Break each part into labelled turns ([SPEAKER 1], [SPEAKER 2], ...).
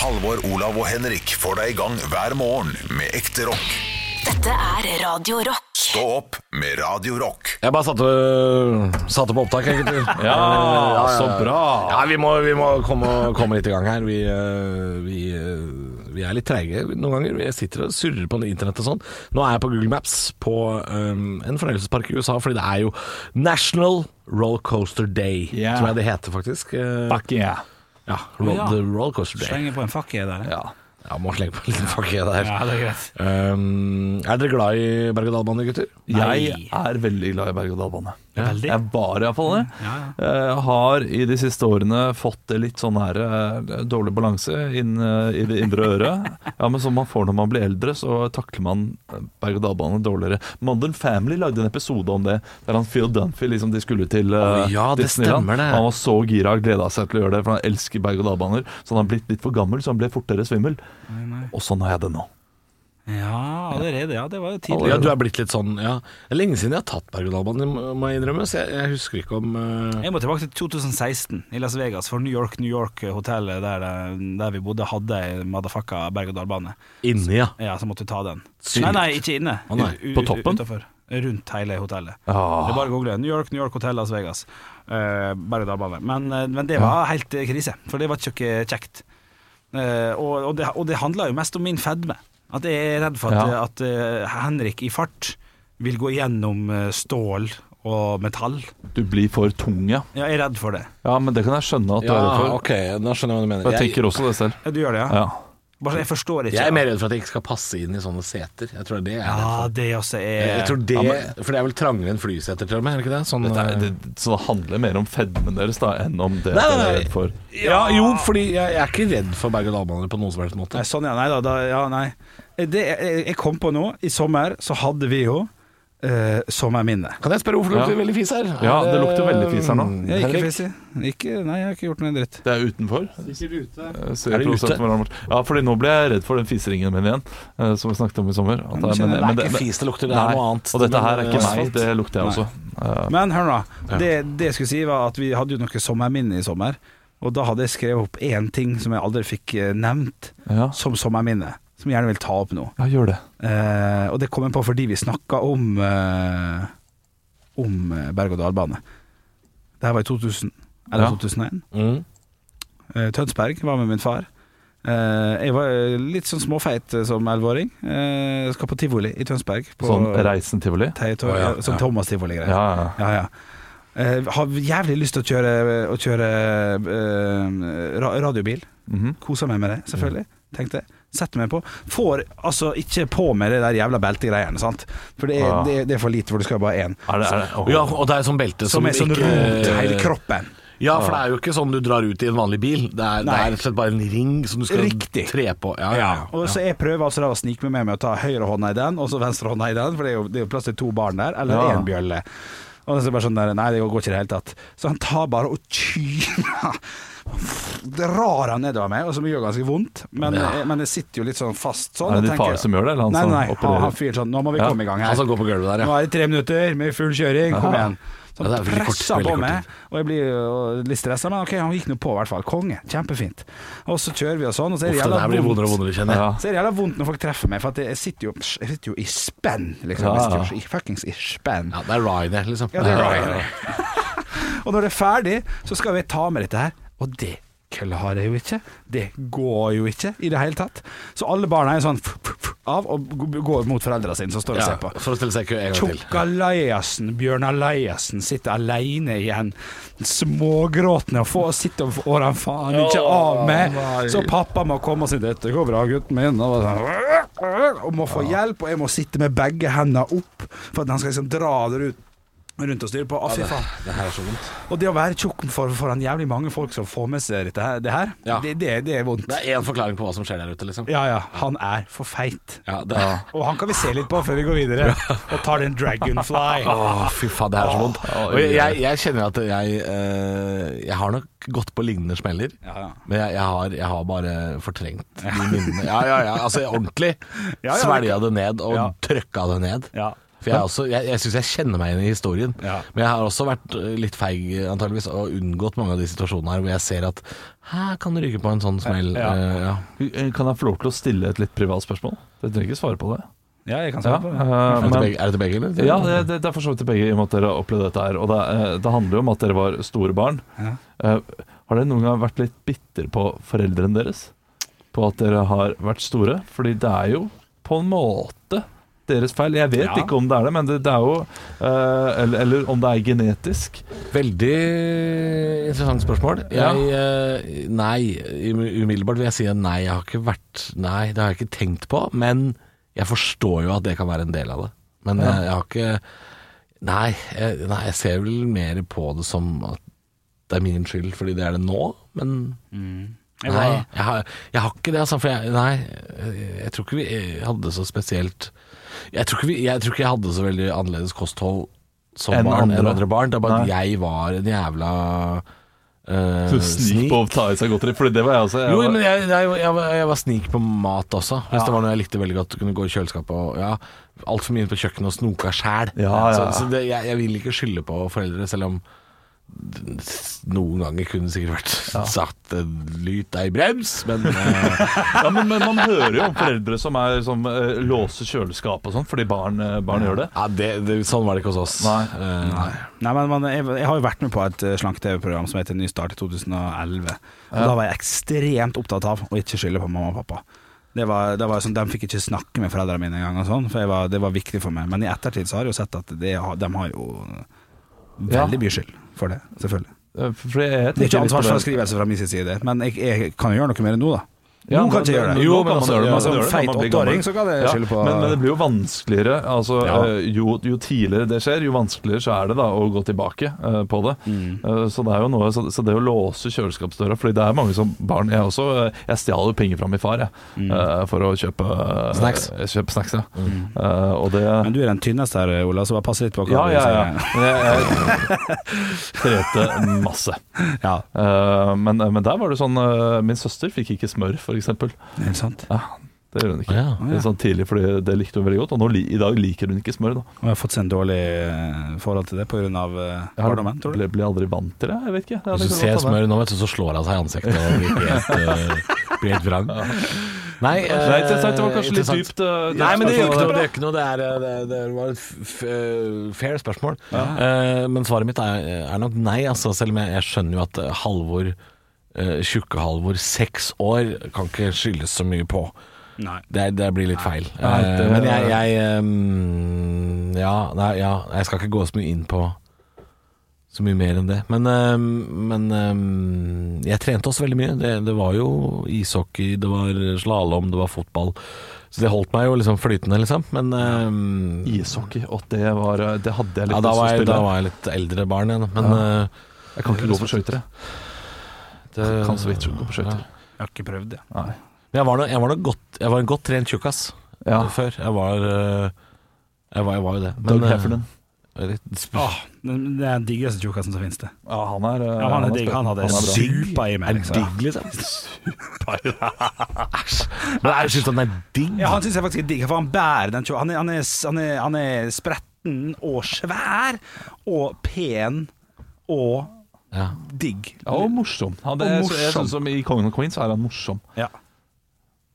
[SPEAKER 1] Halvor, Olav og Henrik får deg i gang hver morgen med ekte rock.
[SPEAKER 2] Dette er Radio Rock.
[SPEAKER 1] Stå opp med Radio Rock.
[SPEAKER 3] Jeg bare satte, satte på opptak, egentlig. ja,
[SPEAKER 4] Ah, så bra.
[SPEAKER 3] Ja, vi må, vi må komme, komme litt i gang her. Vi, eh, vi, eh, vi er litt treige noen ganger. Jeg sitter og surrer på internett og sånn. Nå er jeg på Google Maps på eh, en fornøyelsespark i USA, fordi det er jo National Rollcoaster Day,
[SPEAKER 4] Ja.
[SPEAKER 3] tror jeg det heter faktisk. Eh,
[SPEAKER 4] Fuck yeah.
[SPEAKER 3] Ja, roll,
[SPEAKER 4] Ja.
[SPEAKER 3] The Rollcoaster Day.
[SPEAKER 4] Slenger på en fuck yeah der. eh?
[SPEAKER 3] Ja. ja, må slenge på en liten pakke der.
[SPEAKER 4] Ja, det er greit.
[SPEAKER 3] Um, er dere glad i berg-og-dal-bane, gutter?
[SPEAKER 4] Nei.
[SPEAKER 5] Jeg er veldig glad i berg-og-dal-bane.
[SPEAKER 4] Veldig. Mm,
[SPEAKER 5] Jeg var iallfall det. Eh, har i de siste årene fått litt sånn her eh, dårlig balanse inn eh, i det indre øret. Ja, men som man får når man blir eldre, så takler man eh, berg-og-dal-bane dårligere. Modern Family lagde en episode om det, der han Phil Dunphy liksom de skulle til eh,
[SPEAKER 3] Å, ja, det
[SPEAKER 5] Disneyland.
[SPEAKER 3] stemmer det.
[SPEAKER 5] Han var så gira og gleda seg til å gjøre det, for han elsker berg-og-dal-baner. Så han har blitt litt for gammel, så han ble fortere svimmel. Og sånn har jeg det nå.
[SPEAKER 4] Ja, allerede. Ja, det var jo tidlig.
[SPEAKER 3] Ja, du er blitt litt sånn, ja. Det er lenge siden jeg har tatt berg-og-dal-banen, må jeg innrømme, så jeg, jeg husker ikke om eh,
[SPEAKER 4] Jeg må tilbake til 2016 i Las Vegas, for New York, New York-hotellet der, eh, der vi bodde, hadde ei motherfucka berg-og-dal-bane.
[SPEAKER 3] Inni, ja.
[SPEAKER 4] Ja, så måtte du ta den.
[SPEAKER 3] Sykt.
[SPEAKER 4] Nei, nei, ikke inne.
[SPEAKER 3] Å, nei.
[SPEAKER 4] U- u-
[SPEAKER 5] På toppen?
[SPEAKER 4] Utenfor. Rundt hele hotellet.
[SPEAKER 5] Ah.
[SPEAKER 4] Det er bare å google. New York, New York Hotel, Las Vegas. Eh, Berg-og-dal-bane. Men, eh, men det var helt eh, krise, for det var ikke kjekt. Eh, og, og, det, og det handla jo mest om min fedme. At jeg er redd for at,
[SPEAKER 5] Ja.
[SPEAKER 4] at eh, Henrik i fart vil gå gjennom eh, stål og metall.
[SPEAKER 5] Du blir for tung, ja.
[SPEAKER 4] Ja, jeg er redd for det.
[SPEAKER 5] Ja, men det kan jeg skjønne at du er redd for.
[SPEAKER 3] ok, da skjønner jeg hva du mener.
[SPEAKER 5] For Jeg
[SPEAKER 3] Jeg,
[SPEAKER 5] tenker også det selv.
[SPEAKER 4] Ja, du gjør det, ja?
[SPEAKER 5] Ja.
[SPEAKER 4] Bare så jeg forstår ikke.
[SPEAKER 3] jeg er mer redd for at jeg ikke skal passe inn i sånne seter. Jeg tror det er
[SPEAKER 4] Ja, det også er
[SPEAKER 3] Jeg tror det,
[SPEAKER 5] Ja, men-
[SPEAKER 3] For det er vel trangere enn flyseter, til og med? Er det ikke det? Sånn,
[SPEAKER 5] Dette er,
[SPEAKER 3] eh,
[SPEAKER 5] det, så det handler mer om fedmen deres da enn om det
[SPEAKER 3] Nei, nei,
[SPEAKER 5] dere
[SPEAKER 3] nei.
[SPEAKER 5] er redd for.
[SPEAKER 3] ja, jo, fordi jeg, jeg er ikke redd for berg-og-dal-baner på noen som helst måte.
[SPEAKER 4] Nei, sånn ja, nei da, da ja, nei. Eh, Det, jeg, jeg kom på nå, i sommer så hadde vi jo eh, sommerminne.
[SPEAKER 3] Kan jeg spørre hvorfor det
[SPEAKER 5] Ja.
[SPEAKER 3] lukter veldig fis her?
[SPEAKER 5] Ja,
[SPEAKER 3] Er
[SPEAKER 5] det lukter veldig fis her nå.
[SPEAKER 4] Jeg er ikke
[SPEAKER 3] Henrik?
[SPEAKER 4] fissig. Ikke, nei, jeg har ikke gjort noe dritt.
[SPEAKER 5] Det er utenfor. Eh, ser
[SPEAKER 3] Er det
[SPEAKER 5] prosenten
[SPEAKER 3] ute?
[SPEAKER 5] mellom- Ja, fordi nå ble jeg redd for den fiseringen min igjen, eh, som vi snakket om i sommer. At
[SPEAKER 4] men kjenner jeg,
[SPEAKER 3] det er ikke fis det lukter, det er
[SPEAKER 5] nei.
[SPEAKER 3] noe annet.
[SPEAKER 5] Og dette her er
[SPEAKER 3] Men,
[SPEAKER 5] ikke
[SPEAKER 3] eh,
[SPEAKER 5] meg, det lukter jeg
[SPEAKER 4] Nei.
[SPEAKER 5] også. Eh,
[SPEAKER 4] Men hør nå, det, det jeg skulle si var at vi hadde jo noe sommerminne i sommer. Og da hadde jeg skrevet opp én ting som jeg aldri fikk eh, nevnt
[SPEAKER 5] ja.
[SPEAKER 4] som sommerminne, som jeg gjerne vil ta opp nå.
[SPEAKER 5] ja, gjør det.
[SPEAKER 4] Eh, og det kom jeg på fordi vi snakka om eh, Om eh, berg-og-dal-bane. Det her var i 2000, eller
[SPEAKER 5] Ja.
[SPEAKER 4] 2001.
[SPEAKER 3] Mm.
[SPEAKER 4] Eh, Tønsberg var med min far. Eh, jeg var eh, litt sånn småfeit eh, som elleveåring. Eh, skal på tivoli i Tønsberg. På
[SPEAKER 5] Sånn Reisen Tivoli.
[SPEAKER 4] Teietor-
[SPEAKER 3] Å, ja,
[SPEAKER 4] Sånn
[SPEAKER 3] ja.
[SPEAKER 4] Thomas-tivoli-greier.
[SPEAKER 5] Ja, ja.
[SPEAKER 4] Ja, ja. Eh, har jævlig lyst til å kjøre, å kjøre eh, ra radiobil.
[SPEAKER 5] Mhm.
[SPEAKER 4] Koser meg med det, selvfølgelig.
[SPEAKER 3] Mhm.
[SPEAKER 4] Tenkte jeg. Setter meg på. Får altså ikke på meg det der jævla beltegreiene, sant. For det er,
[SPEAKER 3] Ah.
[SPEAKER 5] Ja.
[SPEAKER 4] det, det er for lite, for du skal bare ha én.
[SPEAKER 5] Er det, er det, åh.
[SPEAKER 3] Ja, og det er sånn belte som,
[SPEAKER 4] Som er sånn
[SPEAKER 3] ikke eh,
[SPEAKER 4] rundt hele kroppen.
[SPEAKER 3] Ja, for det er jo ikke sånn du drar ut i en vanlig bil. Det er, det
[SPEAKER 4] Nei.
[SPEAKER 3] er rett og slett bare en ring som du skal
[SPEAKER 4] Riktig.
[SPEAKER 3] tre på. Ja, ja, ja.
[SPEAKER 4] Og så jeg prøver altså da å snike meg med med å ta høyrehånda i den, og så venstrehånda i den, for det er jo, det er jo plass til to barn der, eller
[SPEAKER 5] Ja.
[SPEAKER 4] én bjølle. Og så er det bare sånn der, Nei, det går ikke i det hele tatt. Så han tar bare og kyler Drar han nedover meg, og som gjør ganske vondt. Men, eh, men jeg sitter jo litt sånn fast sånn.
[SPEAKER 5] Er det
[SPEAKER 4] og
[SPEAKER 5] din far
[SPEAKER 4] tenker-
[SPEAKER 5] som gjør det, eller han
[SPEAKER 4] nei,
[SPEAKER 5] som
[SPEAKER 4] nei,
[SPEAKER 5] opererer?
[SPEAKER 4] Han, han fyren sånn Nå må vi
[SPEAKER 5] Ja.
[SPEAKER 4] komme i gang her.
[SPEAKER 3] Han som går på gulvet Altså, der,
[SPEAKER 4] Nå
[SPEAKER 3] ja.
[SPEAKER 4] er det tre minutter med full kjøring, kom
[SPEAKER 5] Ja.
[SPEAKER 4] igjen. Så
[SPEAKER 3] Ja, det
[SPEAKER 4] han
[SPEAKER 3] er veldig kort,
[SPEAKER 4] presser
[SPEAKER 3] veldig
[SPEAKER 4] på
[SPEAKER 3] kort
[SPEAKER 4] meg,
[SPEAKER 3] tid.
[SPEAKER 4] og jeg blir jo litt stressa, men ok, han gikk nå på i hvert fall. Konge, kjempefint. Og så kjører vi og sånn, og så er det
[SPEAKER 3] Ofte det her
[SPEAKER 4] jævla
[SPEAKER 3] blir vondere
[SPEAKER 4] vondt.
[SPEAKER 3] og vondere, kjenner jeg.
[SPEAKER 5] Ja.
[SPEAKER 4] Så er det jævla vondt når folk treffer meg, for at jeg sitter jo, jeg sitter jo i spenn, liksom.
[SPEAKER 5] Ja.
[SPEAKER 4] Jeg sitter jo i fuckings i spenn.
[SPEAKER 3] Ja, det er Ryanair, liksom.
[SPEAKER 4] Ja, det er Ryanair. Og når det er ferdig, så skal vi ta med dette her, og det klarer jeg jo ikke. Det går jo ikke i det hele tatt. Så alle barna er sånn f- f- f- av og g- går mot foreldra sine som står og
[SPEAKER 3] Ja,
[SPEAKER 4] ser på.
[SPEAKER 3] for å stille seg i kø en gang til.
[SPEAKER 4] Tjokk Alaiassen, Bjørn Alaiassen, sitter alene igjen, smågråtende og får sitte og får han faen ikke av med. Så pappa må komme og si 'dette går bra, gutten min', og, sånn, og må få hjelp. Og jeg må sitte med begge hendene opp for at han skal liksom dra det ut. Rundt og styre på. Å, fy faen.
[SPEAKER 3] Det her er så vondt.
[SPEAKER 4] Og det å være tjukk for, foran jævlig mange folk som får med seg dette her, det, her,
[SPEAKER 3] Ja.
[SPEAKER 4] det, det, det er vondt.
[SPEAKER 3] Det er én forklaring på hva som skjer der ute, liksom.
[SPEAKER 4] Ja ja, han er for feit.
[SPEAKER 3] Ja, det er
[SPEAKER 4] Og han kan vi se litt på før vi går videre og tar den Dragonfly.
[SPEAKER 3] Å, fy faen, det er så vondt.
[SPEAKER 5] Åh,
[SPEAKER 3] Og jeg, jeg- jeg kjenner at jeg eh, Jeg har nok gått på lignende smeller.
[SPEAKER 4] Ja, ja.
[SPEAKER 3] Men jeg, jeg, har, jeg har bare fortrengt de minnene. Ja, ja, ja. Altså ordentlig.
[SPEAKER 4] Ja, ja, det-
[SPEAKER 3] Svelga det ned og
[SPEAKER 4] Ja.
[SPEAKER 3] trøkka det ned.
[SPEAKER 4] Ja.
[SPEAKER 3] For jeg, er også- jeg, jeg syns jeg kjenner meg igjen i historien.
[SPEAKER 4] Ja.
[SPEAKER 3] Men jeg har også vært eh, litt feig eh, antageligvis og unngått mange av de situasjonene her hvor jeg ser at her kan du ryke på en sånn smell.
[SPEAKER 4] Ja.
[SPEAKER 3] eh, ja.
[SPEAKER 5] Kan jeg få lov til å stille et litt privat spørsmål? Dere trenger ikke svare på det.
[SPEAKER 4] Ja, jeg kan
[SPEAKER 5] Ja,
[SPEAKER 4] svare på det.
[SPEAKER 5] eh,
[SPEAKER 3] Er det til
[SPEAKER 5] men,
[SPEAKER 3] begge, er det til begge eller?
[SPEAKER 5] ja det, det, det er for så vidt til begge, i og med at dere har opplevd dette her. Og det, eh, det handler jo om at dere var store barn.
[SPEAKER 4] Ja.
[SPEAKER 5] Eh, Har dere noen gang vært litt bitter på foreldrene deres? På at dere har vært store? Fordi det er jo på en måte deres feil. Jeg vet
[SPEAKER 4] Ja.
[SPEAKER 5] ikke om det er det, men det, det er jo eh, eller, eller om det er genetisk.
[SPEAKER 3] Veldig interessant spørsmål.
[SPEAKER 5] Ja.
[SPEAKER 3] Jeg, eh, nei, um- umiddelbart vil jeg si at nei, jeg har ikke vært Nei, det har jeg ikke tenkt på. Men jeg forstår jo at det kan være en del av det. Men eh,
[SPEAKER 5] Ja.
[SPEAKER 3] jeg, jeg har ikke nei jeg, nei, jeg ser vel mer på det som at det er min skyld, fordi det er det nå. Men
[SPEAKER 4] Jeg
[SPEAKER 3] nei,
[SPEAKER 4] var,
[SPEAKER 3] jeg har, jeg har ikke det, altså. For jeg, nei, jeg, jeg tror ikke vi eh, hadde så spesielt Jeg tror ikke, vi, jeg, tror ikke jeg hadde så veldig annerledes kosthold som
[SPEAKER 5] Enn
[SPEAKER 3] barn enn
[SPEAKER 5] andre.
[SPEAKER 3] andre barn. Det er bare at jeg var en jævla eh,
[SPEAKER 5] Du snik på å ta i seg godteri, fordi det var jeg også. Jeg
[SPEAKER 3] Jo,
[SPEAKER 5] var-
[SPEAKER 3] men jeg, jeg, jeg, var- jeg var snik på mat også. Hvis det var noe jeg likte veldig godt, kunne gå i kjøleskapet og ja, altfor mye inn på kjøkkenet og snoka sjæl.
[SPEAKER 5] Ja,
[SPEAKER 3] Så,
[SPEAKER 5] ja.
[SPEAKER 3] så det, jeg, jeg vil ikke skylde på foreldre, selv om s- noen ganger kunne det sikkert vært satt en lyt ei brems, men eh,
[SPEAKER 5] Ja, men, men man hører jo om foreldre som, er, som eh, låser kjøleskap og sånn fordi barn, eh, barn gjør det.
[SPEAKER 3] Ja, det, det, sånn var det ikke hos oss.
[SPEAKER 5] Nei.
[SPEAKER 3] Eh,
[SPEAKER 4] nei, men man, jeg, jeg har jo vært med på et eh, slanke-TV-program som heter Nystart i 2011. Og Da var jeg ekstremt opptatt av å ikke skylde på mamma og pappa. Det var, det var sånn, De fikk ikke snakke med foreldrene mine engang, og sånn, for jeg var, det var viktig for meg. Men i ettertid så har jeg jo sett at det, har- de har jo eh,
[SPEAKER 5] Ja.
[SPEAKER 4] veldig mye skyld for det, selvfølgelig.
[SPEAKER 5] Eh, Fordi jeg
[SPEAKER 4] Det er
[SPEAKER 5] tenker
[SPEAKER 4] ikke
[SPEAKER 5] litt på
[SPEAKER 4] ansvarsfraskrivelse fra min side, men jeg, jeg kan jo gjøre noe mer nå, da.
[SPEAKER 5] Ja,
[SPEAKER 4] nå kan jeg ikke gjøre det.
[SPEAKER 5] Jo,
[SPEAKER 4] Nå
[SPEAKER 5] men
[SPEAKER 4] kan man
[SPEAKER 5] altså,
[SPEAKER 4] gjøre det,
[SPEAKER 5] ja,
[SPEAKER 4] men som
[SPEAKER 5] det gjør det når
[SPEAKER 4] feit
[SPEAKER 5] man blir
[SPEAKER 4] åtteåring
[SPEAKER 5] gammel.
[SPEAKER 4] så kan jeg
[SPEAKER 5] Ja,
[SPEAKER 4] skylde på
[SPEAKER 5] men, men det blir jo vanskeligere. Altså,
[SPEAKER 4] Ja.
[SPEAKER 5] eh, jo, jo tidligere det skjer, jo vanskeligere så er det da å gå tilbake eh, på det.
[SPEAKER 4] Mm.
[SPEAKER 5] Eh, så, det er jo noe, så, så det å låse kjøleskapsdøra Fordi det er mange som barn Jeg også eh, Jeg stjal jo penger fra min far jeg,
[SPEAKER 4] Mm.
[SPEAKER 5] eh, for å kjøpe eh,
[SPEAKER 3] Snacks.
[SPEAKER 5] Kjøpe snacks ja. Eh, og det
[SPEAKER 4] Mm. Men du er den tynneste her, Ola, så bare pass litt på
[SPEAKER 5] Ja,
[SPEAKER 4] hva du
[SPEAKER 5] ja, ja.
[SPEAKER 4] sier.
[SPEAKER 5] Men Jeg, jeg trete masse.
[SPEAKER 4] ja.
[SPEAKER 5] Eh, men, men der var det sånn eh, Min søster fikk ikke smør, f.eks.
[SPEAKER 4] Helt sant.
[SPEAKER 5] Ja, det gjør hun ikke.
[SPEAKER 3] Å, ja.
[SPEAKER 5] Det er Sånn tidlig, fordi det likte hun veldig godt. Og nå, li- i dag liker hun ikke smør. da
[SPEAKER 4] Og jeg har fått seg en dårlig eh, forhold til det pågrunn av eh, barndommen, tror du?
[SPEAKER 5] ble, ble aldri vant til det. Jeg vet ikke. Ja, det
[SPEAKER 3] Hvis du
[SPEAKER 5] kan
[SPEAKER 3] ser
[SPEAKER 5] godt hende.
[SPEAKER 3] smør nå, vet du, så slår han seg i ansiktet og blir helt, eh, blir helt vrang. Nei, eh,
[SPEAKER 5] Nei, det, det var kanskje litt
[SPEAKER 3] interessant.
[SPEAKER 5] dypt. eh, dypt
[SPEAKER 3] Nei, men det gjør
[SPEAKER 5] spørsmål,
[SPEAKER 3] ikke noe. Det, gjør ikke noe.
[SPEAKER 5] da.
[SPEAKER 3] det, er, eh, det, det var et f eh, fair spørsmål. Eh, men svaret mitt er, er nok nei, altså, selv om jeg, jeg skjønner jo at eh, Halvor, uh, tjukke Halvor, seks år, kan ikke skyldes så mye på.
[SPEAKER 4] Nei.
[SPEAKER 3] Det, er- det blir litt feil.
[SPEAKER 5] Nei,
[SPEAKER 3] Eh,
[SPEAKER 5] det-
[SPEAKER 3] men jeg, jeg ehm, ja, nei, ja, jeg skal ikke gå så mye inn på så mye mer enn det. Men, ehm, men ehm, jeg trente også veldig mye. Det, det var jo ishockey, det var slalåm, det var fotball. Så det holdt meg jo liksom flytende, liksom. Men ehm,
[SPEAKER 5] Ishockey, og det, var, eh, det hadde jeg
[SPEAKER 3] ja,
[SPEAKER 5] litt
[SPEAKER 3] da,
[SPEAKER 5] lyst til å
[SPEAKER 3] var jeg,
[SPEAKER 5] spille.
[SPEAKER 3] da var jeg litt eldre barn igjen. Men eh,
[SPEAKER 5] Jeg kan ikke gå på skøyter, jeg.
[SPEAKER 3] det-
[SPEAKER 5] Kan så vidt gå på skøyter.
[SPEAKER 4] Jeg har ikke prøvd det.
[SPEAKER 5] Nei.
[SPEAKER 3] Men jeg var, noe, jeg var noe godt Jeg var en godt trent tjukkas
[SPEAKER 5] Ja.
[SPEAKER 3] før. Jeg var, eh, jeg var Jeg var jo det.
[SPEAKER 5] Doug
[SPEAKER 3] eh,
[SPEAKER 5] Heffernan. Ah,
[SPEAKER 3] litt-
[SPEAKER 4] Åh, den- det er den diggeste tjukkasen som finnes det.
[SPEAKER 5] Ja, han er, eh,
[SPEAKER 4] Ja, han er digg,
[SPEAKER 5] spennende.
[SPEAKER 4] han hadde
[SPEAKER 5] er bra.
[SPEAKER 4] supa i meg. Liksom.
[SPEAKER 3] digg, liksom. Æsj. Men jeg syns han er digg.
[SPEAKER 4] Ja, han syns jeg faktisk er digg, for han bærer den tjukkasen. Han, er- han, er- han, er- han er spretten og svær og pen og
[SPEAKER 3] Ja.
[SPEAKER 4] digg.
[SPEAKER 5] Ja, og morsom. Han,
[SPEAKER 4] Og
[SPEAKER 5] jeg, jeg,
[SPEAKER 4] morsom.
[SPEAKER 5] synes som I Kongen og Queen så er han morsom.
[SPEAKER 4] Ja.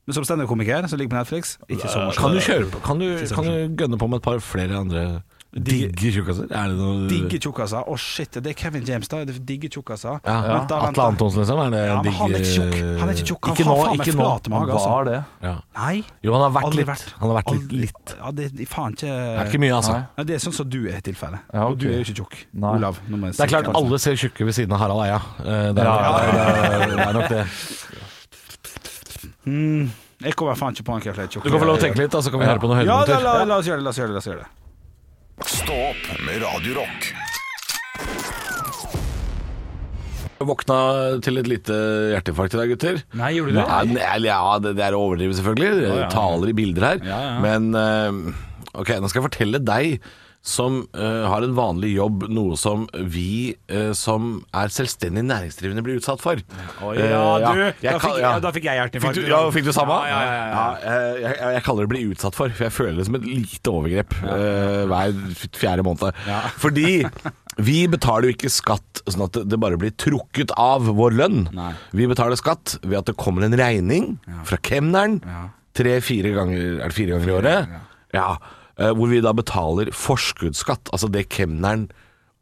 [SPEAKER 4] Men som standup-komiker som ligger på Netflix, ikke så morsomt.
[SPEAKER 3] Kan du kjøre på Kan du, kan du gønne på med et par flere andre digge tjukkaser? Er det noe
[SPEAKER 4] Digge tjukkaser. Å, shit, det er Kevin James, da. Det er Digge tjukkaser.
[SPEAKER 3] ja.
[SPEAKER 4] Vent da,
[SPEAKER 3] Atle
[SPEAKER 4] vent da.
[SPEAKER 3] Antonsen, liksom? Er det
[SPEAKER 4] Ja, men
[SPEAKER 3] digg
[SPEAKER 4] han er ikke tjukk. Han er ikke tjukk. Han
[SPEAKER 3] Ikke nå.
[SPEAKER 4] har faen meg
[SPEAKER 3] Ikke nå.
[SPEAKER 4] flat mage,
[SPEAKER 5] Han
[SPEAKER 4] altså.
[SPEAKER 5] var det.
[SPEAKER 3] Ja.
[SPEAKER 4] Nei.
[SPEAKER 3] Jo, han har vært
[SPEAKER 4] Aldri
[SPEAKER 3] litt. Han har vært litt,
[SPEAKER 4] Aldri-
[SPEAKER 3] litt.
[SPEAKER 4] Ja, det er faen ikke
[SPEAKER 3] Det er ikke mye, altså.
[SPEAKER 5] Nei.
[SPEAKER 4] Nei, det er sånn som du er i tilfelle.
[SPEAKER 5] Ja,
[SPEAKER 4] Og du
[SPEAKER 5] ok.
[SPEAKER 4] er jo ikke tjukk.
[SPEAKER 5] Nei.
[SPEAKER 4] Olav. nå må
[SPEAKER 3] Det
[SPEAKER 4] jeg
[SPEAKER 3] er
[SPEAKER 4] si
[SPEAKER 3] klart,
[SPEAKER 4] det.
[SPEAKER 3] alle ser tjukke ved siden av Harald Eia. Eh, Det er,
[SPEAKER 5] Ja,
[SPEAKER 3] det er, det er, det er nok det.
[SPEAKER 4] Mm, Jeg kommer faen ikke på noen flere tjukke.
[SPEAKER 3] Du kan få lov å tenke litt, og så kan vi høre på noen
[SPEAKER 4] Ja, da,
[SPEAKER 3] høydepunkter.
[SPEAKER 4] la, la oss gjøre det. La oss gjøre det, la oss gjøre det.
[SPEAKER 1] Stå opp med Radio Rock.
[SPEAKER 3] Jeg Våkna til et lite hjerteinfarkt i dag, gutter.
[SPEAKER 4] Nei, gjorde du det?
[SPEAKER 3] Nei, men- eller ja, det, det er å overdrive selvfølgelig. Det
[SPEAKER 4] ja.
[SPEAKER 3] Taler i bilder her.
[SPEAKER 4] Ja, ja.
[SPEAKER 3] Men eh, ok, nå skal jeg fortelle deg som eh, har en vanlig jobb, noe som vi eh, som er selvstendig næringsdrivende blir utsatt for.
[SPEAKER 4] Å,
[SPEAKER 3] Eh,
[SPEAKER 4] ja, du,
[SPEAKER 3] Jeg
[SPEAKER 4] da
[SPEAKER 3] kan-
[SPEAKER 4] fikk-
[SPEAKER 3] ja.
[SPEAKER 4] ja, da fikk jeg hjerteinfarkt.
[SPEAKER 3] Fikk du, ja, fikk du samme?
[SPEAKER 4] Ja, ja, ja, ja.
[SPEAKER 3] Ja, eh, jeg, jeg kaller det 'bli utsatt for', for jeg føler det som et lite overgrep eh, hver f- fjerde måned. Fordi vi betaler jo ikke skatt sånn at det- det bare blir trukket av vår lønn.
[SPEAKER 4] Nei.
[SPEAKER 3] Vi betaler skatt ved at det kommer en regning fra kemneren tre-fire ganger, er det fire ganger i året. Ja, eh, Hvor vi da betaler forskuddsskatt, altså det kemneren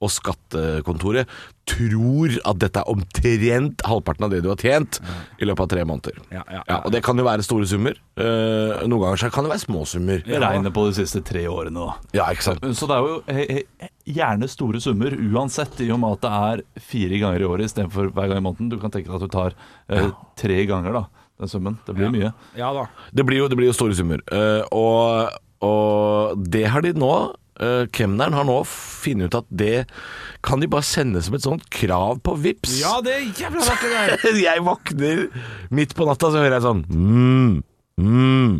[SPEAKER 3] og skattekontoret tror at dette er omtrent halvparten av det du har tjent i løpet av tre måneder.
[SPEAKER 4] Ja, ja, ja.
[SPEAKER 3] og det kan jo være store summer. Eh, noen ganger så kan det være små summer.
[SPEAKER 5] Vi regner på de siste tre årene, da.
[SPEAKER 3] Ja, ikke sant.
[SPEAKER 5] Så det er jo eh, eh, gjerne store summer uansett, i og med at det er fire ganger i året istedenfor hver gang i måneden. Du kan tenke deg at du tar eh, tre ganger da, den summen. Det blir mye.
[SPEAKER 4] ja da.
[SPEAKER 3] Det blir jo, det blir jo store summer. Eh, og, og det har de nå eh, Kemneren har nå funnet ut at det kan de bare sende som et sånt krav på VIPS
[SPEAKER 4] Ja, det er jævla rart, det der.
[SPEAKER 3] Jeg våkner midt på natta, så hører jeg sånn mm, mm.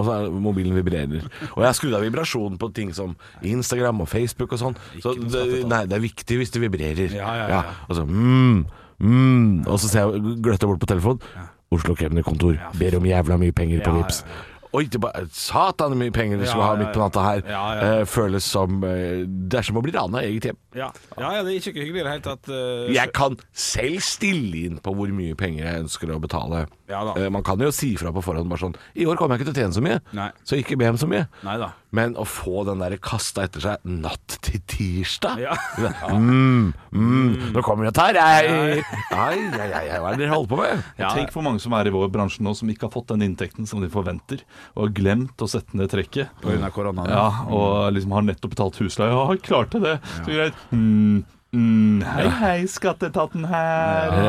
[SPEAKER 3] Og så er mobilen vibrerer. Og jeg har skrudd av vibrasjonen på ting som Instagram og Facebook og sånn. Så det, nei, det er viktig hvis det vibrerer.
[SPEAKER 4] Ja, ja, ja.
[SPEAKER 3] og så mm, mm. Og så ser jeg gløtter bort på telefonen. Oslo kemnerkontor ber om jævla mye penger på
[SPEAKER 4] Ja, ja,
[SPEAKER 3] Vipps. Oi, det ba, satan hvor mye penger vi skulle
[SPEAKER 4] Ja,
[SPEAKER 3] ha
[SPEAKER 4] ja,
[SPEAKER 3] midt på natta her.
[SPEAKER 4] ja. Ja, ja.
[SPEAKER 3] Eh, føles som eh, Det er som å bli rana i eget hjem.
[SPEAKER 4] Ja. ja, ja, det er ikke hyggelig i det hele tatt. eh,
[SPEAKER 3] Jeg kan selv stille inn på hvor mye penger jeg ønsker å betale.
[SPEAKER 4] Ja da.
[SPEAKER 3] Eh, Man kan jo si fra på forhånd bare sånn I år kommer jeg ikke til å tjene så mye,
[SPEAKER 4] Nei.
[SPEAKER 3] så ikke be om så mye.
[SPEAKER 4] Nei da.
[SPEAKER 3] Men å få den derre kasta etter seg natt til tirsdag
[SPEAKER 4] Ja.
[SPEAKER 3] mm, mm, Nå kommer jeg og tar, jeg! Ai, ai, ai, ai, hva er det dere holder på med?
[SPEAKER 4] Ja.
[SPEAKER 5] Tenk hvor mange som er i vår bransje nå som ikke har fått den inntekten som de forventer, og har glemt å sette ned trekket.
[SPEAKER 4] På grunn av koronaen.
[SPEAKER 5] Ja, og liksom har nettopp betalt husleie. Ja, jeg klarte det. Så greit. Mm, mm, hei, hei, skatteetaten her.
[SPEAKER 4] Ja,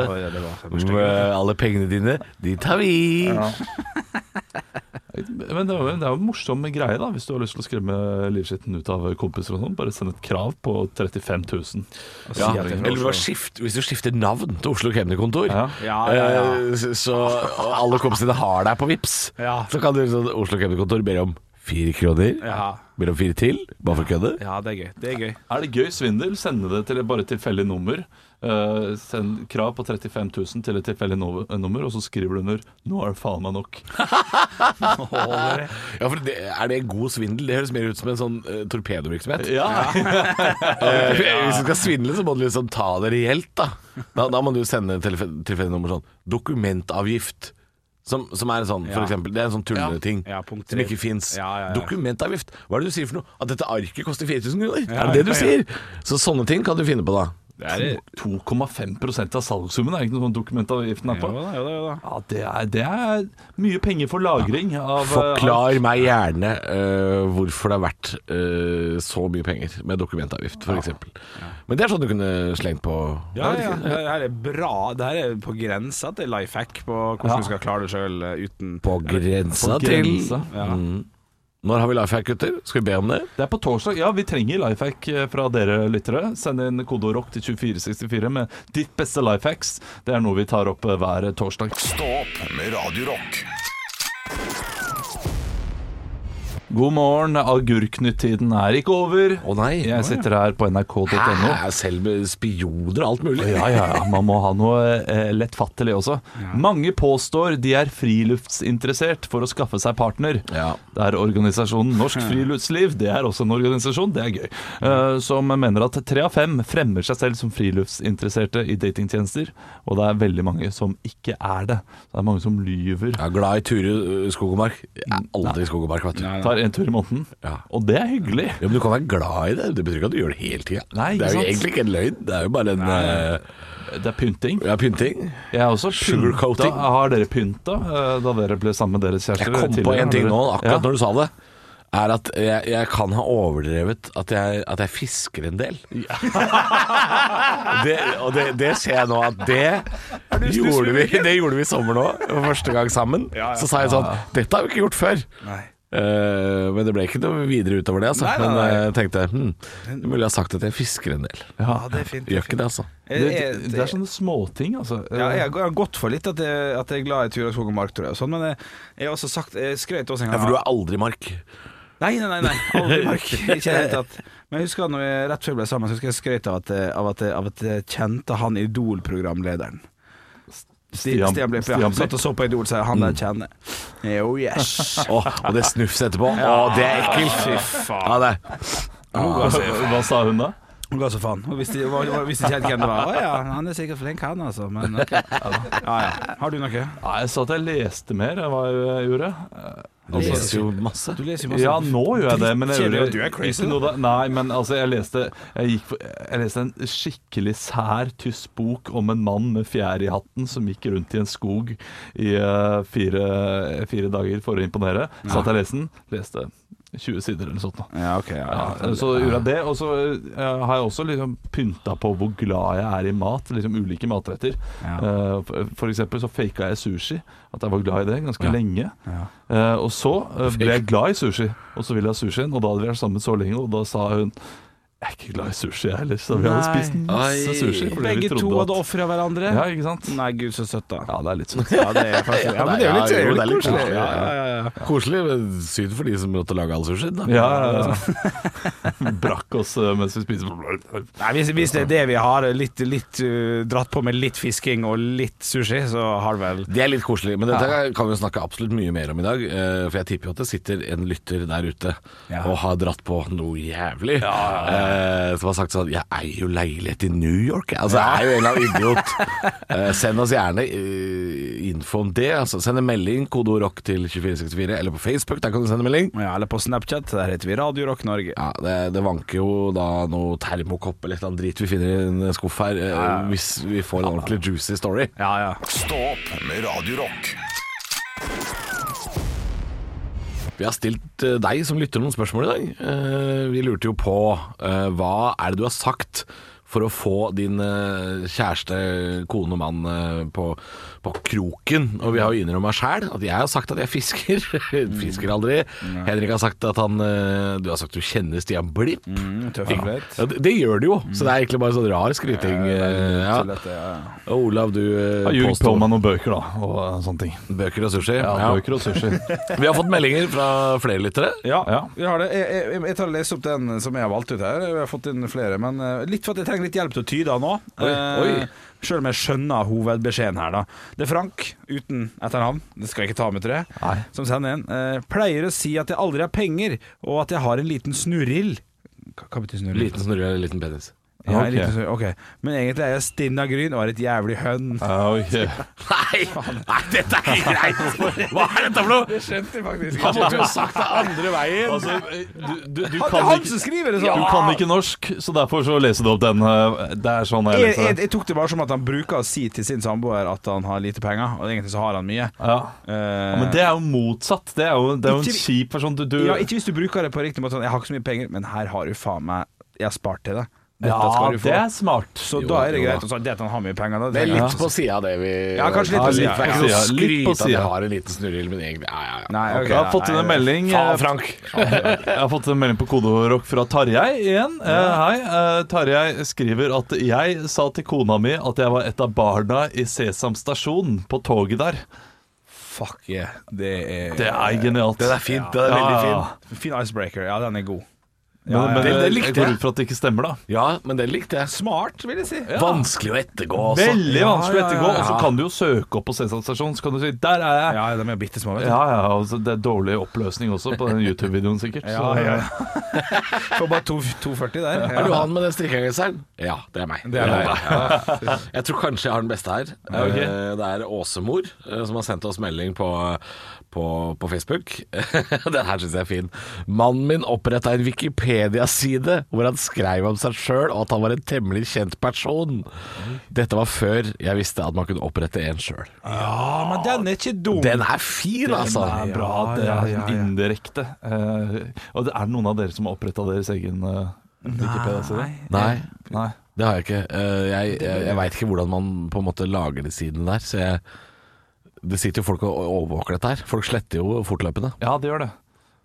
[SPEAKER 4] ja, det var-
[SPEAKER 3] Mm, Alle pengene dine, de tar vi.
[SPEAKER 5] Men det er, jo, det er jo en morsom greie, da, hvis du har lyst til å skremme livskitten ut av kompiser og sånn. Bare send et krav på 35 000.
[SPEAKER 3] Ja,
[SPEAKER 4] Si at det er
[SPEAKER 3] eller bare skift, hvis du skifter navn til Oslo Kemnerkontor,
[SPEAKER 5] Ja.
[SPEAKER 4] Ja, ja, ja.
[SPEAKER 3] eh, så- så og alle kompisene har deg på Vips
[SPEAKER 4] Ja.
[SPEAKER 3] så kan du sånn Oslo Kemnerkontor ber om fire kroner,
[SPEAKER 4] Ja.
[SPEAKER 3] ber om fire til, bare for å kødde.
[SPEAKER 4] ja, det er gøy. Det er gøy.
[SPEAKER 5] Er det gøy svindel, sende det til et bare tilfeldig nummer. Eh, send krav på 35 000 til et tilfeldig no- nummer, og så skriver du under 'Nå er det faen meg nok'.
[SPEAKER 3] Ja, for det, er det god svindel? Det høres mer ut som en sånn eh, torpedovirksomhet.
[SPEAKER 5] Ja,
[SPEAKER 3] Eh, hvis du skal svindle, så må du liksom ta det reelt, da. Da, da må du sende et tilfe- tilfeldig nummer sånn dokumentavgift. Som, som er en sånn, for
[SPEAKER 4] Ja.
[SPEAKER 3] eksempel. Det er en sånn tulleting
[SPEAKER 4] Ja, punkt
[SPEAKER 3] som
[SPEAKER 4] tre.
[SPEAKER 3] ikke fins.
[SPEAKER 4] Ja, ja, ja.
[SPEAKER 3] Dokumentavgift. Hva er det du sier for noe? At dette arket koster 4000 kroner?
[SPEAKER 4] Ja,
[SPEAKER 3] er det det du
[SPEAKER 4] ja, ja.
[SPEAKER 3] sier? Så sånne ting kan du finne på, da.
[SPEAKER 5] To- 2,5 av salgssummen er ikke noe sånn dokumentavgiften er
[SPEAKER 4] Jo
[SPEAKER 5] på.
[SPEAKER 4] da, jo da, jo da.
[SPEAKER 5] Ja, det er, det er mye penger for lagring av eh,
[SPEAKER 4] Altså,
[SPEAKER 3] Forklar meg gjerne eh, hvorfor det har vært eh, så mye penger med dokumentavgift, f.eks. eksempel Men det er sånn du kunne slengt på
[SPEAKER 4] Ja,
[SPEAKER 3] Jeg vet
[SPEAKER 4] ja,
[SPEAKER 3] ikke.
[SPEAKER 4] det her er bra. Det her er på grensa til life hack på hvordan du skal klare det sjøl uten
[SPEAKER 3] På grensa
[SPEAKER 5] På
[SPEAKER 3] til
[SPEAKER 5] grensa.
[SPEAKER 4] ja.
[SPEAKER 3] Når har vi life hack, gutter? Skal vi be om det?
[SPEAKER 5] Det er på torsdag. Ja, vi trenger life hack fra dere lyttere. Send inn kodeord ROCK til 2464 med ditt beste life hacks. Det er noe vi tar opp eh, hver torsdag.
[SPEAKER 1] Stå opp med Radio Rock.
[SPEAKER 5] God morgen. Agurknytt-tiden er ikke over.
[SPEAKER 3] Å nei.
[SPEAKER 5] Jeg sitter her på
[SPEAKER 3] Hæ?
[SPEAKER 5] nrk.no.
[SPEAKER 3] Ah, Selv med spioner og alt mulig.
[SPEAKER 5] Ja, ja, ja. Man må ha noe eh, lettfattelig også. Mange påstår de er friluftsinteressert for å skaffe seg partner.
[SPEAKER 3] Ja.
[SPEAKER 5] Det er organisasjonen Norsk Friluftsliv, det er også en organisasjon, det er gøy, eh, som mener at tre av fem fremmer seg selv som friluftsinteresserte i datingtjenester. Og det er veldig mange som ikke er det. Det er mange som lyver.
[SPEAKER 3] Jeg er glad i turer ø, skog og mark. Jeg er aldri i skog og mark, vet du.
[SPEAKER 4] Nei, nei.
[SPEAKER 5] Tar en tur i måneden.
[SPEAKER 3] Ja.
[SPEAKER 5] Og det er hyggelig.
[SPEAKER 3] Ja, men du kan være glad i det. Det betyr ikke at du gjør det hele tida. Det
[SPEAKER 5] Nei, ikke
[SPEAKER 3] er jo
[SPEAKER 5] sant?
[SPEAKER 3] egentlig ikke en løgn. Det er jo bare en ø,
[SPEAKER 5] Det er pynting.
[SPEAKER 3] ja, pynting.
[SPEAKER 5] Jeg er også pynta.
[SPEAKER 3] Sugarcoating.
[SPEAKER 5] Har dere pynta eh, da dere ble sammen med deres kjærester?
[SPEAKER 3] Jeg kom på
[SPEAKER 5] tidligere?
[SPEAKER 3] en ting
[SPEAKER 5] Har
[SPEAKER 3] nå,
[SPEAKER 5] dere-
[SPEAKER 3] akkurat
[SPEAKER 5] Ja.
[SPEAKER 3] når du sa det. Er at jeg, jeg kan ha overdrevet at jeg, at jeg fisker en del. det, og det, det ser jeg nå at det gjorde vi, det gjorde vi i sommer nå, for første gang sammen.
[SPEAKER 4] Ja, ja.
[SPEAKER 3] Så sa jeg sånn Dette har vi ikke gjort før.
[SPEAKER 4] Nei.
[SPEAKER 3] Eh, men det ble ikke noe videre utover det, altså.
[SPEAKER 4] Nei, nei, nei.
[SPEAKER 3] Men jeg tenkte hm, det er mulig jeg har sagt at jeg fisker en del.
[SPEAKER 4] Ja, det er fint.
[SPEAKER 3] Gjør ikke det, altså.
[SPEAKER 5] Det, det, det er sånn- sånne småting, altså.
[SPEAKER 4] ja, jeg har gått for litt at jeg, at jeg er glad i tur og skog og mark, tror jeg. og Sånn, men jeg, jeg har også sagt Jeg skrøt også en
[SPEAKER 3] Ja,
[SPEAKER 4] gang
[SPEAKER 3] For du er aldri i mark.
[SPEAKER 4] Nei, nei, nei, nei. aldri mark. Ikke i det hele tatt. Men jeg husker at når vi rett før vi ble sammen, så husker jeg skrøt av at, eh, av at, av at jeg kjente han Idol-programlederen. Stian,
[SPEAKER 5] Stian-
[SPEAKER 4] Stian ble ja,
[SPEAKER 5] Stian
[SPEAKER 4] han satt og så på Idol, så jeg, han der kjenner. Oh yes.
[SPEAKER 3] Åh, og det snufs etterpå. Åh, det er ekkelt.
[SPEAKER 4] Fy
[SPEAKER 3] Ja,
[SPEAKER 4] faen.
[SPEAKER 3] det er.
[SPEAKER 5] Hva sa hun da?
[SPEAKER 4] Hun ga så faen. Hun visste, hun var- hun visste ikke helt hvem det var. Å ja, han er sikkert flink, han altså. Men ok. Ja, ja. Har du noe?
[SPEAKER 5] Nei, Jeg sa at jeg leste mer enn hva jeg gjorde. Eh, altså,
[SPEAKER 3] Du leser jo masse.
[SPEAKER 4] Du leser jo masse.
[SPEAKER 5] Ja, nå gjør jeg det, men jeg
[SPEAKER 4] Kjenner du
[SPEAKER 5] gjorde
[SPEAKER 4] at du er crazy,
[SPEAKER 5] ikke noe da. Nei, men altså, jeg leste, jeg, gikk for, jeg leste en skikkelig sær tysk bok om en mann med fjær i hatten som gikk rundt i en skog i eh, fire, fire dager for å imponere. Satt jeg og leste den, leste 20 sider eller noe sånt. nå.
[SPEAKER 4] Ja, ok. Ja,
[SPEAKER 5] Ja,
[SPEAKER 4] ja.
[SPEAKER 5] så gjorde jeg det, og så eh, har jeg også liksom pynta på hvor glad jeg er i mat. Liksom ulike matretter.
[SPEAKER 4] Ja.
[SPEAKER 5] Eh, for- for eksempel så faka jeg sushi, at jeg var glad i det, ganske lenge.
[SPEAKER 4] Ja.
[SPEAKER 5] Eh, og så eh, ble jeg glad i sushi, og så ville jeg ha sushien, og da hadde vi vært sammen så lenge, og da sa hun jeg er ikke glad i sushi, jeg heller, så vi hadde
[SPEAKER 4] Nei.
[SPEAKER 5] spist masse
[SPEAKER 3] Ai.
[SPEAKER 5] sushi. Fordi
[SPEAKER 4] Begge
[SPEAKER 5] vi
[SPEAKER 4] to
[SPEAKER 5] trodde
[SPEAKER 4] hadde
[SPEAKER 5] at,
[SPEAKER 4] ofra hverandre.
[SPEAKER 5] Ja, ikke sant?
[SPEAKER 4] Nei, gud, så søtt, da.
[SPEAKER 5] Ja, det er litt sånn.
[SPEAKER 4] Ja, det er faktisk Ja, men det er jo litt, det er jo litt koselig.
[SPEAKER 3] Ja, Koselig men synd for de som måtte lage all sushien. da.
[SPEAKER 5] Ja, ja, ja. Brakk oss eh, mens vi spiste.
[SPEAKER 4] Nei, hvis, hvis det er det vi har, litt, litt uh, dratt på med litt fisking og litt sushi, så har det vel
[SPEAKER 3] Det er litt koselig, men dette kan vi jo snakke absolutt mye mer om i dag. eh, For jeg tipper jo at det sitter en lytter der ute
[SPEAKER 4] Ja.
[SPEAKER 3] og har dratt på noe jævlig. eh, Som har sagt sånn Jeg eier jo leilighet i New York, jeg. Altså, jeg er jo en eller annen idiot. Eh, Send oss gjerne eh, info om det. Altså, send en melding, kodeord rock til 2464, eller på Facebook, der kan du sende melding.
[SPEAKER 4] Ja, eller på Snapchat, der heter vi Radio Rock Norge.
[SPEAKER 3] Ja, det, det vanker jo da noe termokopp eller et eller annet drit vi finner i en skuff her, eh, hvis vi får en ordentlig juicy story.
[SPEAKER 4] Ja, ja.
[SPEAKER 1] Stå opp med Radio Rock.
[SPEAKER 3] Vi har stilt eh, deg som lytter noen spørsmål i dag. Eh, Vi lurte jo på eh, hva er det du har sagt for å få din eh, kjæreste, kone, mann eh, på, på kroken. Og vi har jo innrømma sjæl at jeg har sagt at jeg fisker. fisker aldri. Henrik har sagt at han eh, Du har sagt du kjenner Stian Blipp.
[SPEAKER 4] Tøff
[SPEAKER 3] Ja. Ja, det, det gjør du jo, så det er egentlig bare sånn rar skryting. eh, Ja, Og Olav, du eh,
[SPEAKER 5] Jeg ljuger på
[SPEAKER 3] påstår
[SPEAKER 5] meg noen bøker, da, og eh, sånne ting.
[SPEAKER 3] bøker og sushi.
[SPEAKER 5] Ja,
[SPEAKER 3] Ja.
[SPEAKER 5] bøker og sushi.
[SPEAKER 3] Vi har fått meldinger fra flere lyttere.
[SPEAKER 4] Ja,
[SPEAKER 5] Ja.
[SPEAKER 4] vi har det. Jeg, jeg, jeg tar og leser opp den som jeg har valgt ut her. Jeg har fått inn flere, men eh, litt for at jeg trenger litt hjelp til å tyde den nå.
[SPEAKER 3] Oi,
[SPEAKER 4] Eh,
[SPEAKER 3] oi.
[SPEAKER 4] Selv om jeg skjønner hovedbeskjeden her, da. Det er Frank, uten etternavn, det skal jeg ikke ta med, tror jeg,
[SPEAKER 5] Nei.
[SPEAKER 4] som sender inn. Eh, pleier å si at jeg aldri har penger, og at jeg har en liten snurrill. Hva, hva betyr snurrill?
[SPEAKER 3] Liten snurre eller liten penis.
[SPEAKER 4] Ja,
[SPEAKER 5] Ja, ok.
[SPEAKER 4] en liten snurrill. ok. Men egentlig er jeg stinn av gryn og er et jævlig hønn.
[SPEAKER 5] Ja, Ah, ok.
[SPEAKER 3] Nei, nei, dette er ikke greit! Hva er dette for noe?
[SPEAKER 4] Skjønte faktisk
[SPEAKER 3] Han måtte jo ha sagt det andre veien.
[SPEAKER 5] Altså, du, du, du,
[SPEAKER 4] Han, det er
[SPEAKER 5] kan
[SPEAKER 4] han som
[SPEAKER 5] ikke,
[SPEAKER 4] skriver det sånn!
[SPEAKER 5] du kan ikke norsk, så derfor så leser du opp den. eh, Det er sånn jeg
[SPEAKER 4] Jeg, jeg,
[SPEAKER 5] leser det.
[SPEAKER 4] jeg tok det bare som at han bruker å si til sin samboer at han har lite penger, og egentlig så har han mye.
[SPEAKER 5] Ja.
[SPEAKER 4] Eh,
[SPEAKER 5] Ja, men det er jo motsatt. Det er jo, det er jo en
[SPEAKER 4] Ikke-
[SPEAKER 5] kjip person. Du, du,
[SPEAKER 4] ja, ikke hvis du bruker det på riktig måte. Sånn, 'Jeg har ikke så mye penger, men her har du faen meg Jeg har spart til deg. Dette
[SPEAKER 5] ja
[SPEAKER 4] skal du
[SPEAKER 5] det
[SPEAKER 4] få.'
[SPEAKER 5] er smart.
[SPEAKER 4] Så
[SPEAKER 3] Jo,
[SPEAKER 4] da er det
[SPEAKER 3] jo
[SPEAKER 4] greit
[SPEAKER 3] da.
[SPEAKER 4] å si det at han har mye penger. Da.
[SPEAKER 3] Det er
[SPEAKER 4] tenker jeg.
[SPEAKER 3] litt på sida, det vi
[SPEAKER 4] Ja, kanskje litt på siden.
[SPEAKER 3] Det er ikke noe
[SPEAKER 5] Ja, litt på
[SPEAKER 3] skryt at jeg
[SPEAKER 5] siden.
[SPEAKER 3] har en liten snurrill, men egentlig Ja, ja, ja.
[SPEAKER 4] Nei, ok,
[SPEAKER 5] Jeg har
[SPEAKER 4] nei,
[SPEAKER 5] fått inn en
[SPEAKER 4] nei,
[SPEAKER 5] melding
[SPEAKER 3] Faen,
[SPEAKER 5] eh,
[SPEAKER 3] Frank.
[SPEAKER 5] Jeg har fått en melding på koderock fra Tarjei igjen. Eh, hei. eh, Tarjei skriver at jeg sa til kona mi at jeg var et av barna i Sesam stasjon på toget der.
[SPEAKER 4] Fuck yeah. Det er,
[SPEAKER 5] Det er genialt.
[SPEAKER 3] Den er fint. Den er veldig fin.
[SPEAKER 4] Fin icebreaker. Ja, den er god.
[SPEAKER 5] Men, men
[SPEAKER 3] Det- det
[SPEAKER 5] jeg- jeg
[SPEAKER 3] likte jeg.
[SPEAKER 5] går ut fra at det ikke stemmer, da.
[SPEAKER 3] Ja, men den likte jeg.
[SPEAKER 4] Smart, vil jeg si.
[SPEAKER 3] Vanskelig å ettergå, altså.
[SPEAKER 5] Veldig vanskelig å
[SPEAKER 4] ja, ja,
[SPEAKER 5] ettergå. Og så
[SPEAKER 4] ja.
[SPEAKER 5] kan du jo søke opp på Sesam stasjon, så kan du si 'der er jeg'.
[SPEAKER 4] Ja, de er bitte små, vet du.
[SPEAKER 5] Ja, ja, altså, Det er dårlig oppløsning også på den YouTube-videoen, sikkert. Så,
[SPEAKER 4] Ja, ja, Får bare to- 2,40 der.
[SPEAKER 3] Er du han med den strikkegenseren? Ja, det er meg.
[SPEAKER 4] Det er meg.
[SPEAKER 3] Jeg tror kanskje jeg har den beste her.
[SPEAKER 5] Ja, ok.
[SPEAKER 3] Eh, Det er Åsemor eh, som har sendt oss melding på, på, på Facebook. den her syns jeg er fin. Mannen min oppretta en Wikipedia-side hvor han skrev om seg sjøl og at han var en temmelig kjent person. Dette var før jeg visste at man kunne opprette en sjøl.
[SPEAKER 4] Ja, men den er ikke dum.
[SPEAKER 3] Den er fin, altså!
[SPEAKER 5] Det er bra at det
[SPEAKER 4] Ja,
[SPEAKER 5] er
[SPEAKER 4] ja, ja, ja.
[SPEAKER 5] indirekte. Eh, og det er det noen av dere som har oppretta deres egen uh, Wikipedia-side?
[SPEAKER 3] Nei,
[SPEAKER 5] Nei.
[SPEAKER 3] det har jeg ikke. Eh, Jeg, jeg, jeg veit ikke hvordan man på en måte lager de sidene der, så jeg det sitter jo folk og overvåker dette her. Folk sletter jo fortløpende.
[SPEAKER 5] Ja, det gjør det.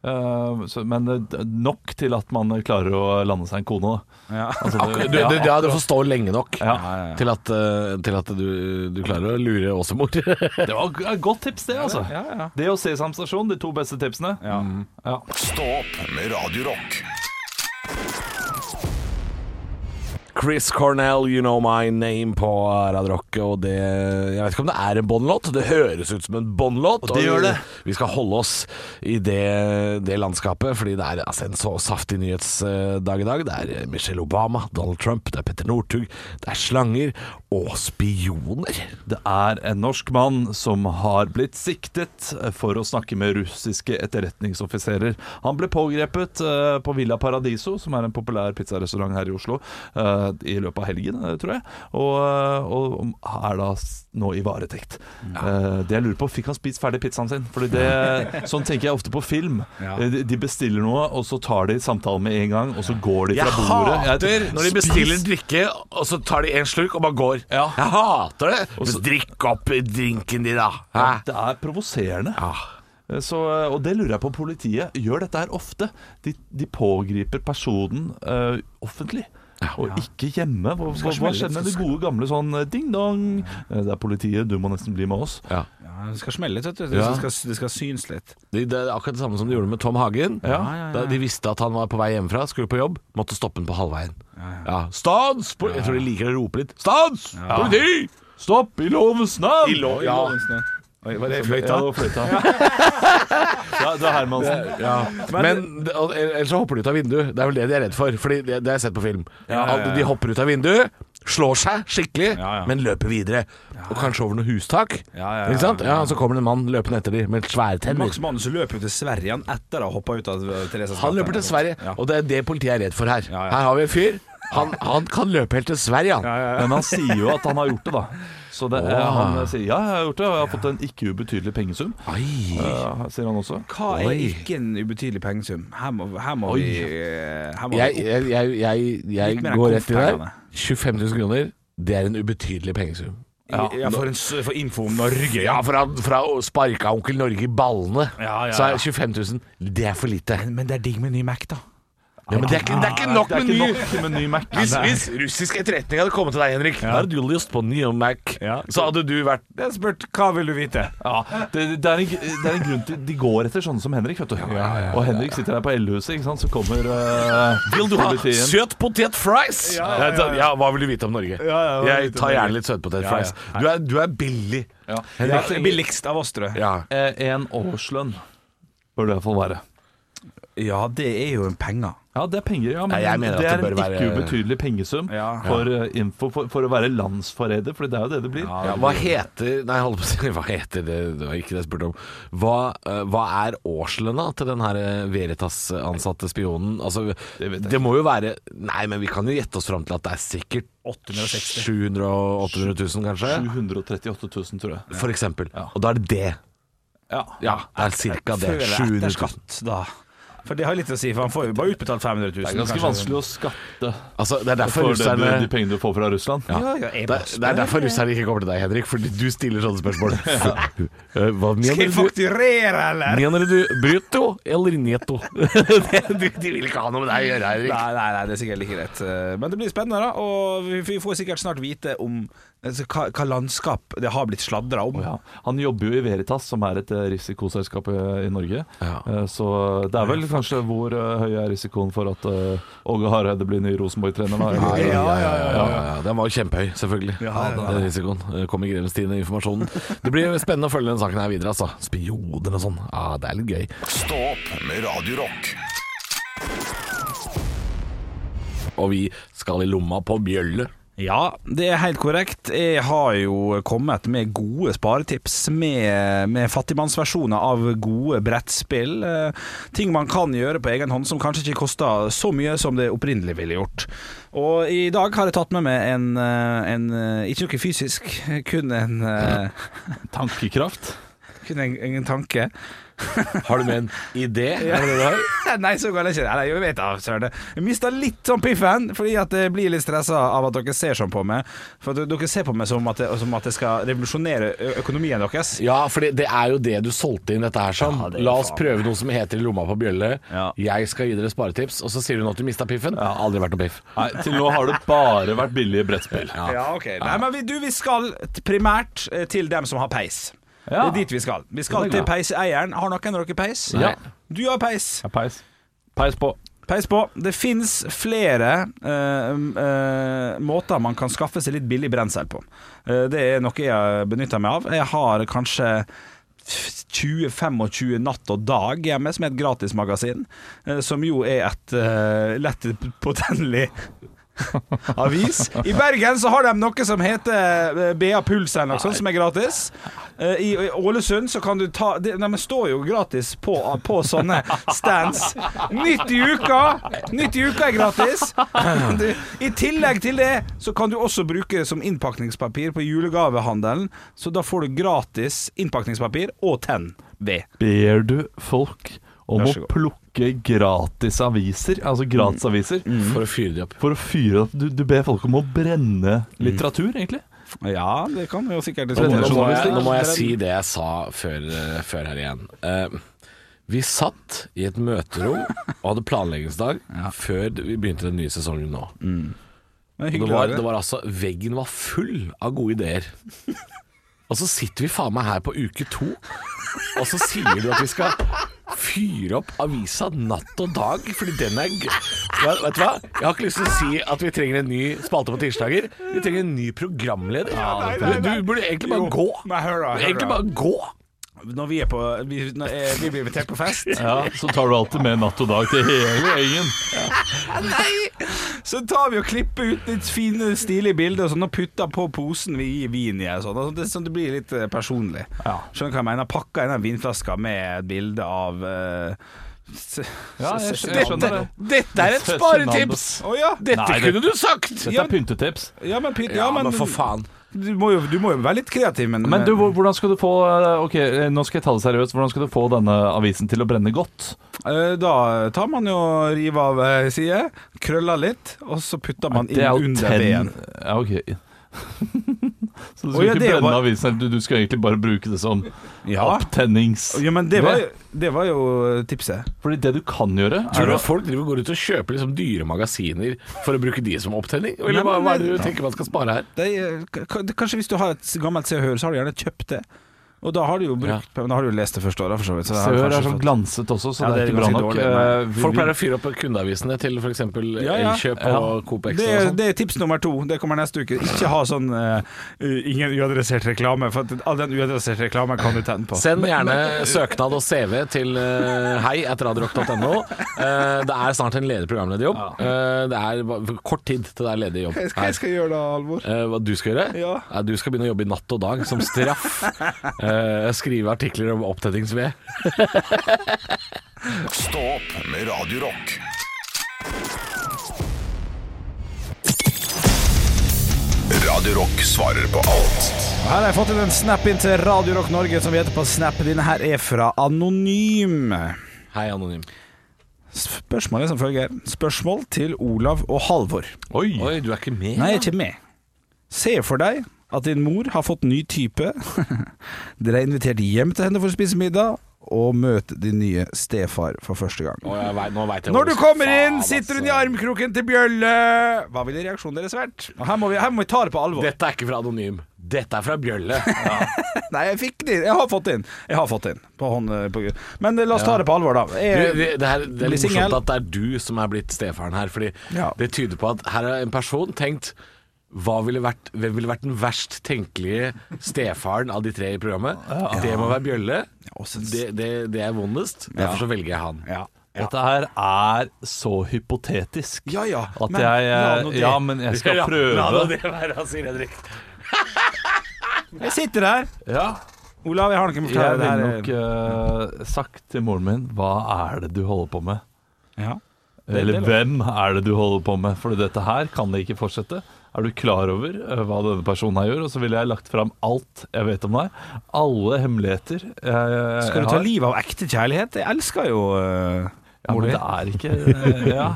[SPEAKER 5] Eh, så, men det- nok til at man eh, klarer å lande seg en kone. Da.
[SPEAKER 4] Ja.
[SPEAKER 5] Altså,
[SPEAKER 3] Du, du, du, ja, du får stå lenge nok
[SPEAKER 5] Ja.
[SPEAKER 3] til at, eh, til at du, du klarer å lure Åsemor.
[SPEAKER 5] Det var et godt tips, det, altså.
[SPEAKER 4] Ja, ja.
[SPEAKER 5] Det og Sesam stasjon, de to beste tipsene. Mm.
[SPEAKER 4] Ja.
[SPEAKER 5] Ja.
[SPEAKER 1] Stå opp med Radio Rock.
[SPEAKER 3] Chris Cornell, You Know My Name på Radio Rock. Og det Jeg vet ikke om det er en Bond-låt. Det høres ut som en Bond-låt.
[SPEAKER 5] Og det gjør det.
[SPEAKER 3] Vi skal holde oss i det, det landskapet, fordi det er altså, en så saftig nyhetsdag i dag. Det er eh, Michelle Obama, Donald Trump, det er Petter Northug, det er slanger og spioner.
[SPEAKER 5] Det er en norsk mann som har blitt siktet for å snakke med russiske etterretningsoffiserer. Han ble pågrepet eh, på Villa Paradiso, som er en populær pizzarestaurant her i Oslo, eh, i løpet av helgen, eh, tror jeg. Og, eh, og er da s- nå i varetekt. Eh, Det jeg lurer på, fikk han spist ferdig pizzaen sin? Fordi det, sånn tenker jeg ofte på film.
[SPEAKER 4] Ja.
[SPEAKER 5] Eh, de- De bestiller noe, og så tar de samtalen med en gang, og så går de fra
[SPEAKER 3] Jeg
[SPEAKER 5] bordet.
[SPEAKER 3] hater når de bestiller drikke, og så tar de en slurk og bare går.
[SPEAKER 5] Ja.
[SPEAKER 3] Jeg hater det.
[SPEAKER 5] så-
[SPEAKER 3] Drikk opp drinken din, da. Hæ?
[SPEAKER 5] Ja, Det er provoserende. Eh, Så, og det lurer jeg på om politiet gjør dette her ofte. De, de pågriper personen eh, offentlig. Og ikke hjemme. Hva, hva, hva skjer med det gode gamle sånn eh, ding-dong? Eh, Det er politiet, du må nesten bli med oss.
[SPEAKER 3] Ja.
[SPEAKER 4] Ja, det skal smelle litt, vet du. Det,
[SPEAKER 3] Ja.
[SPEAKER 4] skal, det skal syns litt.
[SPEAKER 3] Det, det er akkurat det samme som de gjorde med Tom Hagen.
[SPEAKER 5] Ja,
[SPEAKER 3] Da de visste at han var på vei hjemmefra, skulle på jobb, måtte stoppe han på halvveien. Ja, Stans! pol- Jeg tror de liker å rope litt. Stans! Politi!
[SPEAKER 5] Stopp i lovens navn!
[SPEAKER 3] I lov- ja.
[SPEAKER 4] Oi, var det
[SPEAKER 5] Ja, det var fløyta. Ja, det var Hermansen.
[SPEAKER 3] Men det- og- ellers så hopper de ut av vinduet. Det er vel det de er redd for. Fordi det, det har jeg sett på film.
[SPEAKER 4] ja, ja.
[SPEAKER 3] At De hopper ut av vinduet, slår seg skikkelig,
[SPEAKER 4] Ja, ja.
[SPEAKER 3] men løper videre. Og kanskje over noe hustak.
[SPEAKER 4] Ja, ja, ja.
[SPEAKER 3] Ikke sant? Ja, Så kommer det en mann løpende etter dem med svære tenner.
[SPEAKER 4] Max Manus løper jo til Sverige han etter å ha hoppa ut av Theresas
[SPEAKER 3] Han løper til Sverige,
[SPEAKER 4] Ja.
[SPEAKER 3] og det er det politiet er redd for her.
[SPEAKER 4] Ja, ja.
[SPEAKER 3] Her har vi en fyr. Han, han kan løpe helt til Sverige, han.
[SPEAKER 5] Men han sier jo at han har gjort det, da. Så det, eh, han sier ja, jeg har gjort det, og jeg har fått en ikke ubetydelig pengesum.
[SPEAKER 3] Ai.
[SPEAKER 5] eh, sier han også.
[SPEAKER 4] Hva er ikke en ubetydelig pengesum? Her må, her må
[SPEAKER 5] Oi.
[SPEAKER 4] vi eh, her må
[SPEAKER 3] Jeg,
[SPEAKER 4] vi opp.
[SPEAKER 3] jeg, jeg, jeg, jeg
[SPEAKER 4] Litt mer enn
[SPEAKER 3] går rett i der.
[SPEAKER 4] konfpengene.
[SPEAKER 3] 25 000 kroner, det er en ubetydelig pengesum.
[SPEAKER 5] Ja.
[SPEAKER 4] Ja, for, en, s- for info om Norge, ja.
[SPEAKER 3] Ja, for han fra å sparka onkel Norge i ballene,
[SPEAKER 4] Ja, ja,
[SPEAKER 3] så er
[SPEAKER 4] ja.
[SPEAKER 3] 25 000 Det er for lite.
[SPEAKER 4] Men det er digg med ny Mac, da.
[SPEAKER 3] Ja, men det er ikke, det er ikke nok
[SPEAKER 5] Det
[SPEAKER 3] med
[SPEAKER 5] er
[SPEAKER 3] ny
[SPEAKER 5] ikke nok med ny Mac.
[SPEAKER 3] hvis, hvis russisk etterretning hadde kommet til deg, Henrik, Da hadde du lyst på ny Mac,
[SPEAKER 4] Ja.
[SPEAKER 3] så hadde du vært
[SPEAKER 4] Jeg spurte hva vil du vite?
[SPEAKER 5] Ja, det, det, er en, det er en grunn til De går etter sånne som Henrik, vet du. Og Henrik sitter der på Ellehuset, ikke sant, så kommer eh,
[SPEAKER 3] Vil du ha
[SPEAKER 5] politiet.
[SPEAKER 3] søt potet fries? Ja, hva vil du vite om Norge?
[SPEAKER 4] ja, hva vil du
[SPEAKER 3] jeg
[SPEAKER 4] vite om
[SPEAKER 3] tar
[SPEAKER 4] Norge?
[SPEAKER 3] gjerne litt søt potet
[SPEAKER 4] Ja,
[SPEAKER 3] fries.
[SPEAKER 4] ja.
[SPEAKER 3] Du, er, du er billig.
[SPEAKER 5] Ja.
[SPEAKER 4] Ja,
[SPEAKER 5] Jeg trenger
[SPEAKER 4] billigst av oss, tror jeg.
[SPEAKER 3] Ja.
[SPEAKER 5] eh, en årslønn, bør det iallfall være.
[SPEAKER 4] Ja, det er jo en penger.
[SPEAKER 5] Ja, det er penger, ja, men
[SPEAKER 3] Nei, jeg mener
[SPEAKER 5] det
[SPEAKER 3] at
[SPEAKER 5] er
[SPEAKER 3] det
[SPEAKER 5] en
[SPEAKER 3] bør
[SPEAKER 5] ikke
[SPEAKER 3] være-
[SPEAKER 5] ubetydelig pengesum
[SPEAKER 4] Ja.
[SPEAKER 5] for eh, info, for, for å være landsforræder, for det er jo det det blir.
[SPEAKER 3] Ja, hva heter Nei, hold på å si Hva heter det Det var ikke det jeg spurte om. Hva, eh, hva er årslønna til den her eh, Veritas-ansatte spionen? Altså,
[SPEAKER 5] Det vet jeg
[SPEAKER 3] må jo være Nei, men vi kan jo gjette oss fram til at det er sikkert
[SPEAKER 4] 860.
[SPEAKER 3] 700 000-800 000,
[SPEAKER 5] Eh,
[SPEAKER 3] kanskje?
[SPEAKER 5] 738 000, tror jeg.
[SPEAKER 3] For eksempel. Og da er det det.
[SPEAKER 5] Ja.
[SPEAKER 3] Ja, det er cirka det.
[SPEAKER 4] Før eller
[SPEAKER 3] 700
[SPEAKER 4] etter
[SPEAKER 3] 000.
[SPEAKER 4] skatt, da. For det har litt å si, for han får jo bare utbetalt 500 000.
[SPEAKER 5] Det er ganske
[SPEAKER 4] kanskje.
[SPEAKER 5] vanskelig å skatte
[SPEAKER 3] Altså, det er derfor
[SPEAKER 5] for det, du,
[SPEAKER 3] russerne
[SPEAKER 5] de pengene du får fra Russland.
[SPEAKER 4] Ja, ja, jeg
[SPEAKER 3] det er, det er derfor russerne ikke kommer til deg, Henrik, fordi du stiller sånne spørsmål. Eh, Hva
[SPEAKER 4] Skal
[SPEAKER 3] mener
[SPEAKER 4] jeg
[SPEAKER 3] du?
[SPEAKER 4] fakturere, eller?
[SPEAKER 3] Mener du brutto eller netto? de, de vil ikke ha noe med deg å gjøre, Henrik.
[SPEAKER 4] Nei, nei, nei, det er sikkert ikke greit. Eh, Men det blir spennende, da. Og vi- vi får sikkert snart vite om altså, hva, hva landskap det har blitt sladra om.
[SPEAKER 5] Ja. Han jobber jo i Veritas, som er et eh, risikoselskap i i Norge.
[SPEAKER 3] Ja.
[SPEAKER 5] Eh, Så det er vel kanskje hvor eh, høy er risikoen for at eh, Åge Hareide blir ny Rosenborg-trener? da, eller?
[SPEAKER 3] Ja, ja, ja, ja, ja. Den var jo kjempehøy, selvfølgelig. Den risikoen. Eh, Kom i grevens tid, den informasjonen. Det blir spennende å følge den saken her videre, altså. Spioner og sånn. Ja, det er litt gøy.
[SPEAKER 1] Stå opp med Radio Rock.
[SPEAKER 3] Og vi skal i lomma på bjølle.
[SPEAKER 4] Ja, det er helt korrekt. Jeg har jo kommet med gode sparetips med, med fattigmannsversjoner av gode brettspill. Eh, ting man kan gjøre på egen hånd som kanskje ikke koster så mye som det opprinnelig ville gjort. Og i dag har jeg tatt med meg en, eh, en eh, Ikke noe fysisk, kun en eh,
[SPEAKER 5] Tankekraft?
[SPEAKER 4] Kun en, en tanke.
[SPEAKER 3] Har du med en idé? Er det det du har?
[SPEAKER 4] Nei, så går det ikke. Nei, jeg vet da, søren. Jeg mista litt sånn piffen, fordi at jeg blir litt stressa av at dere ser sånn på meg. For at dere ser på meg som at, jeg- som at jeg skal revolusjonere ø- økonomien deres.
[SPEAKER 3] Ja, for det er jo det du solgte inn dette her som.
[SPEAKER 4] Ja, det er
[SPEAKER 3] La oss
[SPEAKER 4] faen.
[SPEAKER 3] prøve noe som heter I lomma på bjølle.
[SPEAKER 4] Ja.
[SPEAKER 3] Jeg skal gi dere sparetips. Og så sier hun at du mista piffen. Ja, aldri vært noe piff.
[SPEAKER 5] Nei, til nå har det bare vært billige brettspill.
[SPEAKER 4] Ja, ok. Nei, men vi, du, vi skal t- primært eh, til dem som har peis.
[SPEAKER 5] Ja.
[SPEAKER 4] Det er dit vi skal. Vi skal
[SPEAKER 5] Det er
[SPEAKER 4] til peiseieren. Har noen av dere peis?
[SPEAKER 3] Nei.
[SPEAKER 4] Du har peis.
[SPEAKER 5] Ja, Peis. Peis på.
[SPEAKER 4] Peis på. Det fins flere eh, eh, måter man kan skaffe seg litt billig brensel på. Eh, det er noe jeg benytter meg av. Jeg har kanskje 20-25 Natt og Dag hjemme, som er et gratismagasin. eh, som jo er et eh, lett påtennelig avis. I Bergen så har de noe som heter eh, BA Puls eller noe sånt, som er gratis. Eh, I i Ålesund så kan du ta De, de står jo gratis på, på sånne stands. Nytt i uka! Nytt i uka er gratis. Du, I tillegg til det så kan du også bruke det som innpakningspapir på julegavehandelen, så da får du gratis innpakningspapir og tenn ved.
[SPEAKER 5] Ber du folk om
[SPEAKER 4] Vær
[SPEAKER 5] å
[SPEAKER 4] så god.
[SPEAKER 5] plukke gratis aviser, altså gratisaviser,
[SPEAKER 3] For å fyre de opp.
[SPEAKER 5] for å fyre opp du, du ber folk om å brenne litteratur, egentlig?
[SPEAKER 4] Ja, det kan jo sikkert
[SPEAKER 3] Nå må,
[SPEAKER 5] Brennende
[SPEAKER 3] nå må, jeg,
[SPEAKER 5] journalistikk.
[SPEAKER 3] nå må jeg si det jeg sa før, eh, før her igjen. Eh, vi satt i et møterom og hadde planleggingsdag før vi begynte den nye sesongen nå.
[SPEAKER 4] Men
[SPEAKER 3] Og det
[SPEAKER 4] hyggelig å
[SPEAKER 3] var,
[SPEAKER 4] være.
[SPEAKER 3] det var altså, Veggen var full av gode ideer. Og så sitter vi faen meg her på uke to, og så sier du at vi skal fyre opp avisa natt og dag, fordi den er gøy. Vet vet du hva? Jeg har ikke lyst til å si at vi trenger en ny spalte på tirsdager. Vi trenger en ny programleder. Du, du burde egentlig bare
[SPEAKER 4] Jo,
[SPEAKER 3] gå.
[SPEAKER 4] men hør da, hør
[SPEAKER 3] egentlig
[SPEAKER 4] da.
[SPEAKER 3] bare gå.
[SPEAKER 4] Når vi er på Vi, når, eh, vi blir invitert på fest,
[SPEAKER 5] Ja, så tar du alltid med Natt og Dag til hele gjengen.
[SPEAKER 4] så tar vi og klipper ut litt fine, stilige bilder og sånn, og putter på posen vi gir vin i. og Sånn, og sånn, det- sånn det blir litt eh, personlig. Skjønner du hva jeg mener? Pakker inn en vinflaske med et bilde av eh, s-
[SPEAKER 5] Ja, jeg
[SPEAKER 4] s-
[SPEAKER 5] skj- jeg skjønner
[SPEAKER 4] sånn dette-
[SPEAKER 5] det.
[SPEAKER 3] Dette er et sparetips!
[SPEAKER 4] Å ja.
[SPEAKER 3] Dette
[SPEAKER 5] Nei, det-
[SPEAKER 3] kunne du sagt!
[SPEAKER 5] Dette
[SPEAKER 4] Ja.
[SPEAKER 5] er pyntetips.
[SPEAKER 4] ja, men, pytt-
[SPEAKER 3] Ja,
[SPEAKER 4] ja, men
[SPEAKER 3] men for faen.
[SPEAKER 4] Du må jo, du må jo være litt kreativ, men
[SPEAKER 5] Men du, hvor- hvordan skal du få eh, Ok, eh, nå skal jeg ta det seriøst. Hvordan skal du få denne avisen til å brenne godt?
[SPEAKER 4] eh, Da tar man jo rive av eh, side, krøller litt, og så putter man inn
[SPEAKER 5] Det er jo
[SPEAKER 4] under veden.
[SPEAKER 5] Ja, ok. så du
[SPEAKER 4] Å,
[SPEAKER 5] skal
[SPEAKER 4] ja,
[SPEAKER 5] ikke
[SPEAKER 4] det er
[SPEAKER 5] brenne
[SPEAKER 4] bare-
[SPEAKER 5] avisen, du, du skal egentlig bare bruke det som
[SPEAKER 4] Ja.
[SPEAKER 5] opptennings...
[SPEAKER 4] ja, men det var, jo- det var jo tipset.
[SPEAKER 5] Fordi det du kan gjøre,
[SPEAKER 3] Tror
[SPEAKER 5] er
[SPEAKER 3] du
[SPEAKER 5] å
[SPEAKER 3] at folk driver og går ut og kjøper liksom dyre magasiner for å bruke de som opptenning? Eller
[SPEAKER 4] Nei,
[SPEAKER 3] hva,
[SPEAKER 4] men-
[SPEAKER 3] hva er det du tenker man skal spare her?
[SPEAKER 4] de, k- k- Kanskje hvis du har et gammelt Se og Hør, så har du gjerne kjøpt det. Og da har du jo brukt Men da har du jo lest det første året, for så vidt. Så det
[SPEAKER 5] Se
[SPEAKER 4] har
[SPEAKER 5] og Hør
[SPEAKER 4] kanskje
[SPEAKER 5] er sånn
[SPEAKER 4] fått-
[SPEAKER 5] glanset også, så
[SPEAKER 4] Ja,
[SPEAKER 5] det er
[SPEAKER 4] det er
[SPEAKER 5] ikke bra
[SPEAKER 4] ganske
[SPEAKER 5] nok.
[SPEAKER 4] dårlig, nei.
[SPEAKER 5] Eh, vi-
[SPEAKER 3] Folk
[SPEAKER 5] vi-
[SPEAKER 3] pleier å fyre opp kundeavisene til f.eks.
[SPEAKER 4] Ja, ja.
[SPEAKER 3] Elkjøp
[SPEAKER 5] Ja.
[SPEAKER 3] og Coop
[SPEAKER 4] det,
[SPEAKER 3] Extra
[SPEAKER 4] er-
[SPEAKER 3] og sånn.
[SPEAKER 4] det er tips nummer to. Det kommer neste uke. Ikke ha sånn eh, ingen uadressert reklame, for at all den uadresserte reklamen kan du tenne på.
[SPEAKER 3] Send gjerne søknad og CV til uh, hei at radiorock.no. Eh, det er snart en ledig programlederjobb. Eh, det er ba- kort tid til det er ledig jobb. her.
[SPEAKER 4] jeg gjøre da, Alvor?
[SPEAKER 3] Eh, hva du skal gjøre?
[SPEAKER 4] Ja.
[SPEAKER 3] Nei, du skal begynne å jobbe i natt og dag, som straff. Eh, skrive artikler om opptettingsved.
[SPEAKER 1] Stå opp med Radio Rock. Radio Rock svarer på alt.
[SPEAKER 4] Her har jeg fått inn en snap inn til Radio Rock Norge, som vi heter på Snap. Denne her er fra Anonym.
[SPEAKER 3] Hei, Anonym.
[SPEAKER 4] Spørsmålet som følger. Spørsmål til Olav og Halvor.
[SPEAKER 5] Oi!
[SPEAKER 3] Oi, du er ikke med?
[SPEAKER 4] Nei, jeg er ikke med. Se for deg at din mor har fått ny type. Dere er invitert hjem til henne for å spise middag, og møte din nye stefar for første gang.
[SPEAKER 3] Å, jeg vet, nå vet jeg hvor
[SPEAKER 4] Når du
[SPEAKER 3] skal-
[SPEAKER 4] kommer inn,
[SPEAKER 3] Faen,
[SPEAKER 4] sitter hun i
[SPEAKER 3] altså.
[SPEAKER 4] armkroken til Bjølle. Hva ville reaksjonen deres vært? Og Her må vi, her må vi ta det på alvor.
[SPEAKER 3] Dette er ikke fra Anonym. Dette er fra Bjølle.
[SPEAKER 4] Nei, jeg fikk det. Jeg har fått det inn. Jeg har fått det inn. På hånd, på, men eh, la oss ta det på alvor, da.
[SPEAKER 3] Du,
[SPEAKER 4] Jeg,
[SPEAKER 3] det, det, her, det er litt
[SPEAKER 4] Blir Eh, singel.
[SPEAKER 3] morsomt at det er du som er blitt stefaren her, fordi
[SPEAKER 4] Ja.
[SPEAKER 3] det tyder på at her har en person tenkt hva ville vært, Hvem ville vært den verst tenkelige stefaren av de tre i programmet? Det må være Bjølle. Det, det, det er vondest. Derfor så velger jeg han.
[SPEAKER 4] ja.
[SPEAKER 5] Dette her er så hypotetisk
[SPEAKER 4] Ja, ja,
[SPEAKER 5] at
[SPEAKER 4] men
[SPEAKER 5] jeg
[SPEAKER 4] la nå
[SPEAKER 5] eh,
[SPEAKER 4] det.
[SPEAKER 5] Ja, men jeg skal
[SPEAKER 3] Ja, La nå
[SPEAKER 5] prøve.
[SPEAKER 3] det være, sier Henrik.
[SPEAKER 4] jeg sitter her.
[SPEAKER 5] Ja,
[SPEAKER 4] Olav, jeg har noe å fortelle
[SPEAKER 5] jeg
[SPEAKER 4] deg.
[SPEAKER 5] ville nok
[SPEAKER 4] Det
[SPEAKER 5] eh, sagt til moren min Hva er det du holder på med?
[SPEAKER 4] her er- Ja.
[SPEAKER 5] Eller hvem er det du holder på med? For dette her kan det ikke fortsette. Er du klar over eh, hva denne personen her gjør? Og så ville jeg lagt fram alt jeg vet om deg. Alle hemmeligheter. eh, Jeg,
[SPEAKER 4] Skal du ta livet av ekte kjærlighet? Jeg elsker jo eh,
[SPEAKER 5] Ja,
[SPEAKER 4] mor
[SPEAKER 5] men
[SPEAKER 4] di.
[SPEAKER 5] det er ikke eh, Ja.